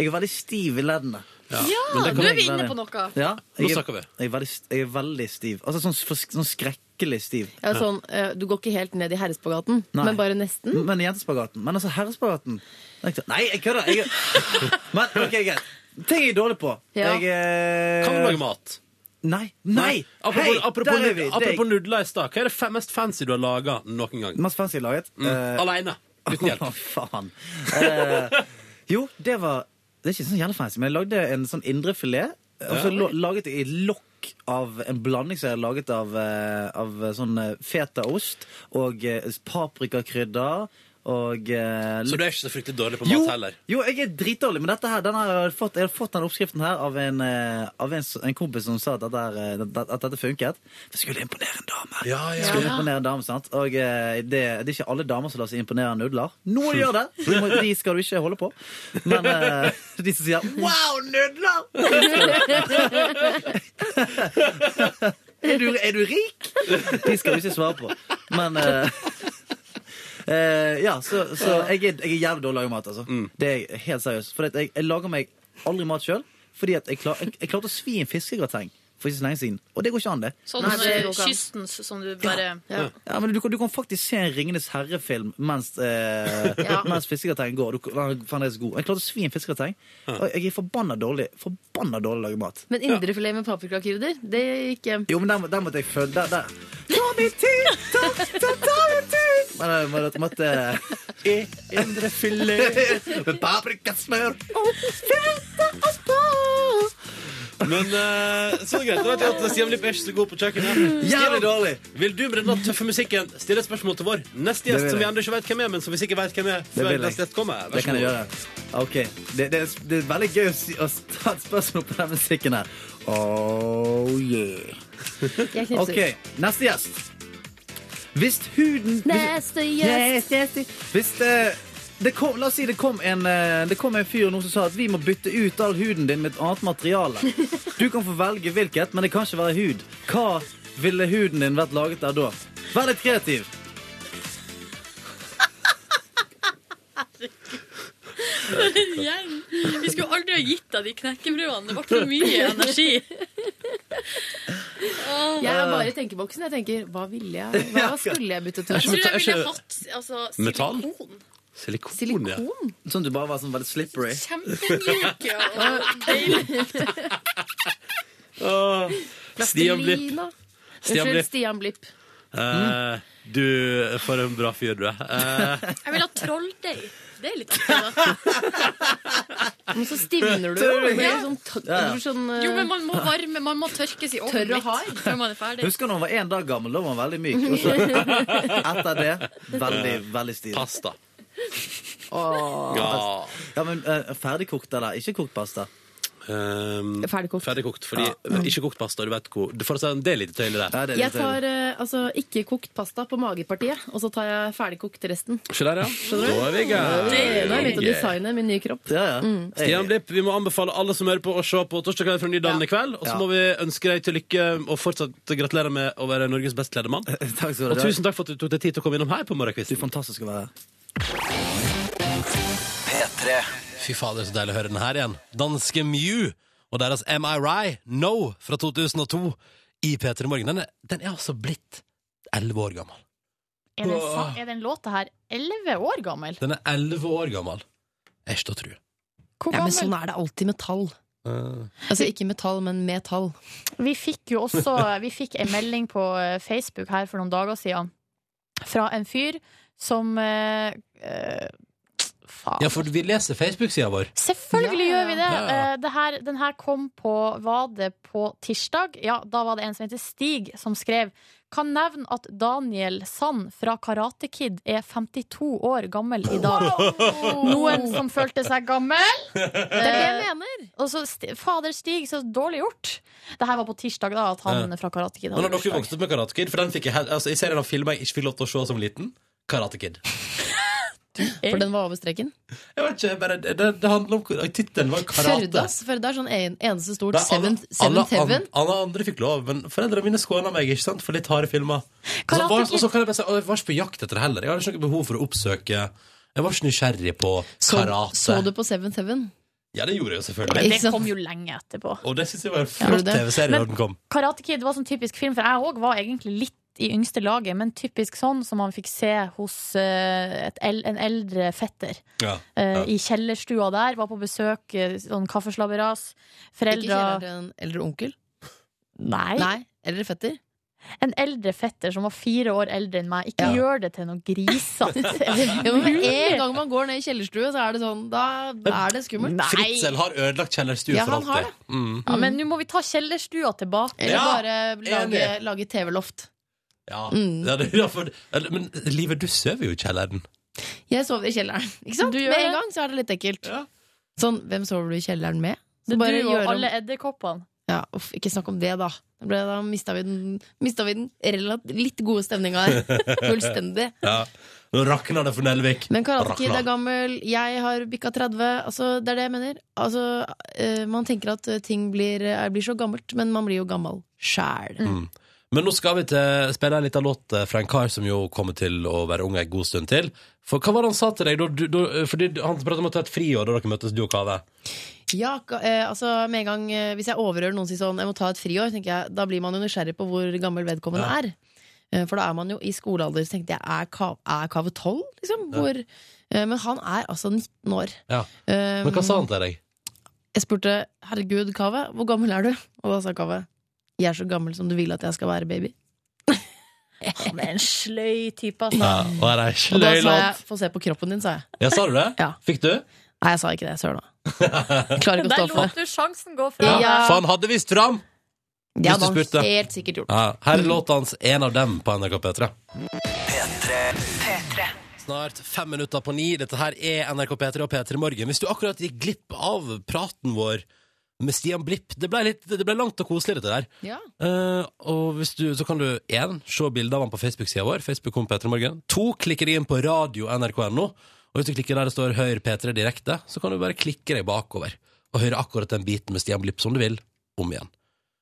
Jeg er veldig stiv i leddene. Ja, nå Men det kan er vi jeg være. inne på noe. Ja, Nå jeg, snakker er- jeg er veldig, st- jeg er veldig stiv. Altså sånn, for, sånn skrekkelig stiv. Ja, sånn, eh, du går ikke helt ned i herrespagaten, Nei. men bare nesten. Men jentespagaten. Men altså herrespagaten Det er ikke så- Nei, jeg kødder! Jeg... Men ok, greit. Ting jeg er dårlig på. Ja. Jeg, eh... Kan du lage mat? Nei. Nei! Apropos, Hei, apropos, der er vi. nudler- apropos nudler i stad. Hva er det fa- mest fancy du har laga noen gang? Mest fancy jeg har laget? Mm. Eh, Aleine. Uten hjelp. Å, faen. Eh, jo, det var Det er ikke sånn jævla fancy, men jeg lagde en sånn indrefilet. Og så Ja. lo- laget jeg i lokk av en blanding som jeg hadde laget av, eh, av eh, sånn eh, fetaost og eh, paprikakrydder. Og, eh, Så du er ikke så fryktelig dårlig på mat jo, heller? Jo, jeg er dritdårlig, men dette her, den her, har jeg fått, jeg har fått den oppskriften her av en, eh, av en, s- en kompis som sa at dette, her, eh, at- at dette funket. Jeg skulle imponere en dame. Skulle imponere en dame, sant? Og eh, det, det er ikke alle damer som lar seg imponere av nudler. Noen gjør det! De, må, de skal du ikke holde på. Men eh, de som sier Wow, nudler! er, du, er du rik? De skal du ikke svare på. Men eh, eh, Ja, så, så jeg, er, jeg er jævlig dårlig til å lage mat, altså. Det er jeg helt seriøst. For jeg, jeg lager meg aldri mat sjøl. Fordi at jeg, klar, jeg, jeg klarte å svi en fiskegrateng for ikke så lenge siden. Og det går ikke an, det. Sånn Nei, det eh, går ikke an. kystens som du bare Ja. ja, men du, kan- du kan faktisk se en Ringenes herre-film mens, eh, Ja. mens fiskegrateng går. Du, den er fremdeles god. Jeg klarte å svi en fiskegrateng. Og jeg er forbanna dårlig Forbanna dårlig til å lage mat. Men indrefilet med paprikakrydder, det gikk hjem. Jo, men der, må- der måtte jeg følge der, der. Ta min tid! Ta, ta, ta min tid! Men jeg måtte, måtte Indrefilet med paprikasmør. Men eh, så er det greit. Da vet jeg at Stian Blipp er ikke så god på kjøkkenet. Stian, Jævlig dårlig. Vil du med denne tøffe musikken stille et spørsmål til vår neste Det vil gjest, som vi jeg. ennå ikke vet hvem er, men som vi sikkert vet hvem er Det før vil jeg. neste gjest kommer? Vær Det kan så jeg god. gjøre. Ok, Det, det, er- det er veldig gøy å, si, å ta et spørsmål på den musikken her. Oh yeah. Jeg knipser. Ok, neste gjest. Hvis huden Neste gjest. Hvis eh, det kom, La oss si det kom en, eh, det kom en fyr nå som sa at vi må bytte ut all huden din med et annet materiale. Du kan få velge hvilket, men det kan ikke være hud. Hva ville huden din vært laget av da? Vær litt kreativ. For en gjeng! Vi skulle aldri ha gitt deg de knekkebrødene. Det ble for mye energi. Åh. Jeg er bare i tenkeboksen. Jeg tenker, hva ville jeg Hva skulle jeg byttet Jeg ut? tror jeg ville hatt altså, Metall? silikon. Silikon, Silikon? Sånn du bare var sånn veldig slippery? Kjempemyk og Åh, Stian Blipp. Plastelina. Stian Unnskyld, Blipp. Stian Blipp. Eh, du, for en bra fyr du er. Eh, Jeg vil ha trolldeig. Det er litt artig, Men så stivner du jo. Tørr. Det blir sånn, t- Ja, ja. du blir sånn da. eh, Jo, men man må varme, man må tørkes i ovnen Tørr og litt før man er ferdig. Husker når hun var én dag gammel, da var hun veldig myk. Og så etter det veldig, veldig stilig. Pasta. Åh, Ja. ja, men eh, ferdigkokt eller ikke kokt pasta? ehm, Ferdigkokt. fordi Ikke kokt pasta, du vet hvor du får si, Det er litt tøyelig der. Jeg tar eh, altså, ikke kokt pasta på magepartiet, og så tar jeg ferdigkokt resten. Se der, ja. Da er vi i gang. Nå har jeg begynt å designe min nye kropp. Ja, ja. Mm. Stian Blipp, vi må anbefale alle som hører på å se på Torsdag kveld fra Nydalen i kveld. Og så Ja. må vi ønske deg til lykke og fortsatt gratulere med å være Norges best kledde mann. Takk skal du Og ha. tusen takk for at du tok deg tid til å komme innom her på morgenkvisten. fantastisk å være her. P3. Fy fader, så deilig å høre den her igjen. Danske Mew og deres Am I Right? No fra 2002 i P3 Morgen. Den er, den er altså blitt 11 år gammel. Er den, sa- er den låta her 11 år gammel? Den er 11 år gammel. Er ikke til å tro. Hvor Ja, men gammel? sånn er det alltid med tall. Eh, Altså ikke med tall, men med tall. Vi fikk jo også Vi fikk en melding på eh, Facebook her for noen dager siden fra en fyr som eh, eh, Faen. ja, for vi leser Facebook-sida vår. Selvfølgelig gjør vi det. Ja, ja. Eh, det her, den her kom på Var det på tirsdag? Ja, da var det en som heter Stig, som skrev Kan nevne at Daniel Sand fra Karate Kid er 52 år gammel i dag. Noen som følte seg gammel. Det er det jeg mener. Og så sti- Fader Stig, så dårlig gjort. Det her var på tirsdag, da, at han Ja. fra Karate Kid Men har hadde dere bursdag. vokst opp med Karate Kid? For den fikk jeg, he- altså, I serien av filmer jeg ikke fikk lov til å se som liten. Karate Kid. For den var over streken. Jeg vet ikke, bare, det, det handler om Tittelen var karate. Førde, ass. Førde er sånn en, eneste stort Nei, alle- seventh, alle, seventh heaven. an- alle andre fikk lov, men foreldrene mine skåna meg ikke sant, for litt harde filmer. Og så Karate var, Kid. og så kan jeg, bare si, og jeg var ikke på jakt etter det heller. Jeg hadde ikke noe behov for å oppsøke Jeg var ikke nysgjerrig på karate. Så du på Seventh Heaven? Ja, det gjorde jeg jo selvfølgelig. Men det kom jo lenge etterpå. Og det syns jeg var en flott det? TV-serie Men- når den kom. Karate Kid var sånn typisk film, for jeg òg var egentlig litt i yngste laget, men typisk sånn som man fikk se hos eh, et, el- en eldre fetter. Ja. Eh, I kjellerstua der, var på besøk, eh, sånn kaffeslabberas. Ikke kjelleren Foreldra til en eldre onkel? Nei. Eldre fetter? En eldre fetter som var fire år eldre enn meg. Ikke gjør det til noe grisete. ja, men med en gang man går ned i kjellerstue, så er det sånn Da er det skummelt. Fritzel har ødelagt kjellerstua Ja, for han har alltid. Mm. Ja, men nå må vi ta kjellerstua tilbake. Eller Ja, bare lage, enig. lage TV-loft. Ja. Mm. Ja, det, ja, for, eller- men livet du sover jo i kjelleren. Jeg sover i kjelleren. Ikke sant? Du gjør Med en det. gang så er det litt ekkelt. Sånn, hvem sover du i kjelleren med? Så Det bare er du gjøre og om- alle edderkoppene. ja, uff, ikke snakk om det, da. Da, ble, da mista vi den, mista vi den relat, litt gode stemninga her. Fullstendig. Ja. Nå rakna det for Nelvik. Men Karate Kid Rakna. er gammel, jeg har bikka 30. Altså, det er det jeg mener. Altså, eh, man tenker at eh, ting blir, eh, blir så gammelt, men man blir jo gammel sjæl. Mm. Men nå skal vi til, spille en liten låt eh, fra en kar som jo kommer til å være ung en god stund til. For hva var det han sa til deg? Da, du, da, eh, fordi du- han pratet om å ta et friår da dere møttes, du og Kave. Ja, ka- eh, altså med en gang eh, Hvis jeg overhører noen si sånn Jeg må ta et friår, tenker jeg Da blir man jo nysgjerrig på hvor gammel vedkommende Ja. er Eh, For da er man jo i skolealder Så tenkte jeg, er, ka er Kave 12? Liksom, Ja. hvor, eh, men han er altså 19 år Eh, Ja. Men hva sa han til deg? Jeg spurte, herregud Kave, hvor gammel er du? Og da sa Kave Jeg er så gammel som du vil at jeg skal være, baby Han er en sløy type, Ja, altså. og er det Og da sa sløylåt? jeg, få se på kroppen din, sa jeg Ja, sa du det? Fikk du? Nei, jeg sa ikke det, sør nå Klarer ikke å Der stå for lot det du sjansen gå fra Ja, deg. For han hadde visst fram! Hvis Det du hadde han spurte. helt sikkert gjort Ja, her er låta hans 'En av dem' på NRK P3. P3. Snart fem minutter på ni. Dette her er NRK P3 og P3 Morgen. Hvis du akkurat gikk glipp av praten vår med Stian Blipp Det ble, litt, det ble langt og koselig, dette der. Ja. Eh, og hvis du, så kan du en, se bilder av han på Facebook-sida vår. Facebook om P3 Morgen. To, klikker deg inn på radio nrk.no. Og hvis du klikker der det står 'Hør P3 direkte', så kan du bare klikke deg bakover og høre akkurat den biten med Stian Blipp som du vil, om igjen.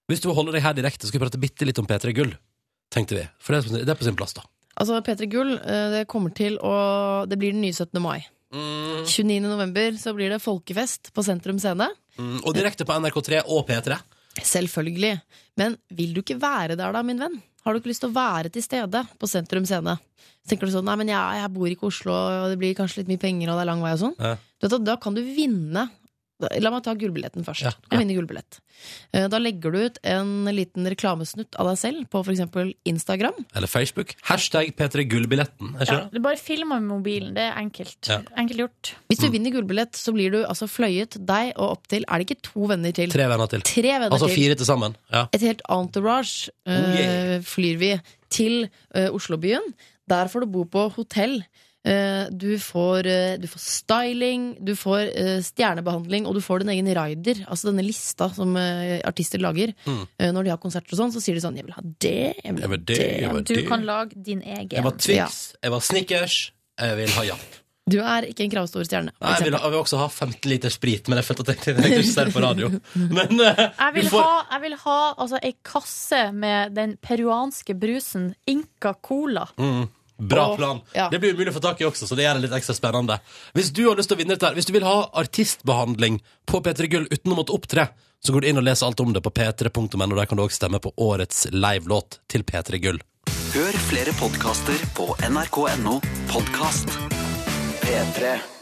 Hvis du vil holde deg her direkte, skal vi prate bitte litt om P3 Gull, tenkte vi. For det er på sin- det er på sin plass, da. Altså, P3 Gull, eh, det kommer til å Det blir den nye 17. mai. 29. november så blir det folkefest på Sentrum Scene. Mm, og direkte på NRK3 og P3. Selvfølgelig. Men vil du ikke være der, da, min venn? Har du ikke lyst til å være til stede på Sentrum Scene? Så tenker du sånn, nei, men jeg, jeg bor ikke i Oslo, og det blir kanskje litt mye penger, og det er lang vei og sånn. Ja. Du vet at Da kan du vinne Da- La meg ta gullbilletten først. Du kan vinne gullbillett. Eh, Da legger du ut en liten reklamesnutt av deg selv på f.eks. Instagram. Eller Facebook. Hashtag P3 Gullbilletten. Er ikke Ja, det? du bare filmer med mobilen. Det er enkelt. Ja. Enkelt gjort. Hvis du Mm. vinner gullbillett, så blir du altså fløyet deg og opp til Er det ikke to venner til? Tre venner til. Tre venner altså til. fire til sammen. Ja. Et helt entourage eh, yeah. flyr vi til eh, Oslobyen. Der får du bo på hotell. Eh, du, får, eh, du får styling, du får eh, stjernebehandling, og du får din egen rider. Altså denne lista som eh, artister lager. Mm. Eh, når de har konserter og sånn, så sier de sånn 'Jeg vil ha det, jeg vil Jeg ha vil det, jeg vil det'. ha Du det. kan Lag din egen. Jeg var Twix, jeg var Snickers, jeg vil ha Japp. Du er ikke en kravstor stjerne. for Nei, jeg vil, eksempel. jeg vil også ha 15 liter sprit, men jeg følte at jeg tenkte jeg kunne ikke si det på radio. Men eh, Jeg vil du får- ha, jeg vil ha altså, ei kasse med den peruanske brusen Inca Cola. Mm. Bra Åh, plan. ja. Det blir umulig å få tak i også, så det gjør det litt ekstra spennende. Hvis du har lyst til å vinne dette, her, hvis du vil ha artistbehandling på P3 Gull uten å måtte opptre, så går du inn og leser alt om det på p3.no. Der kan du også stemme på årets livelåt til P3 Gull. Hør flere podkaster på nrk.no podkast P3.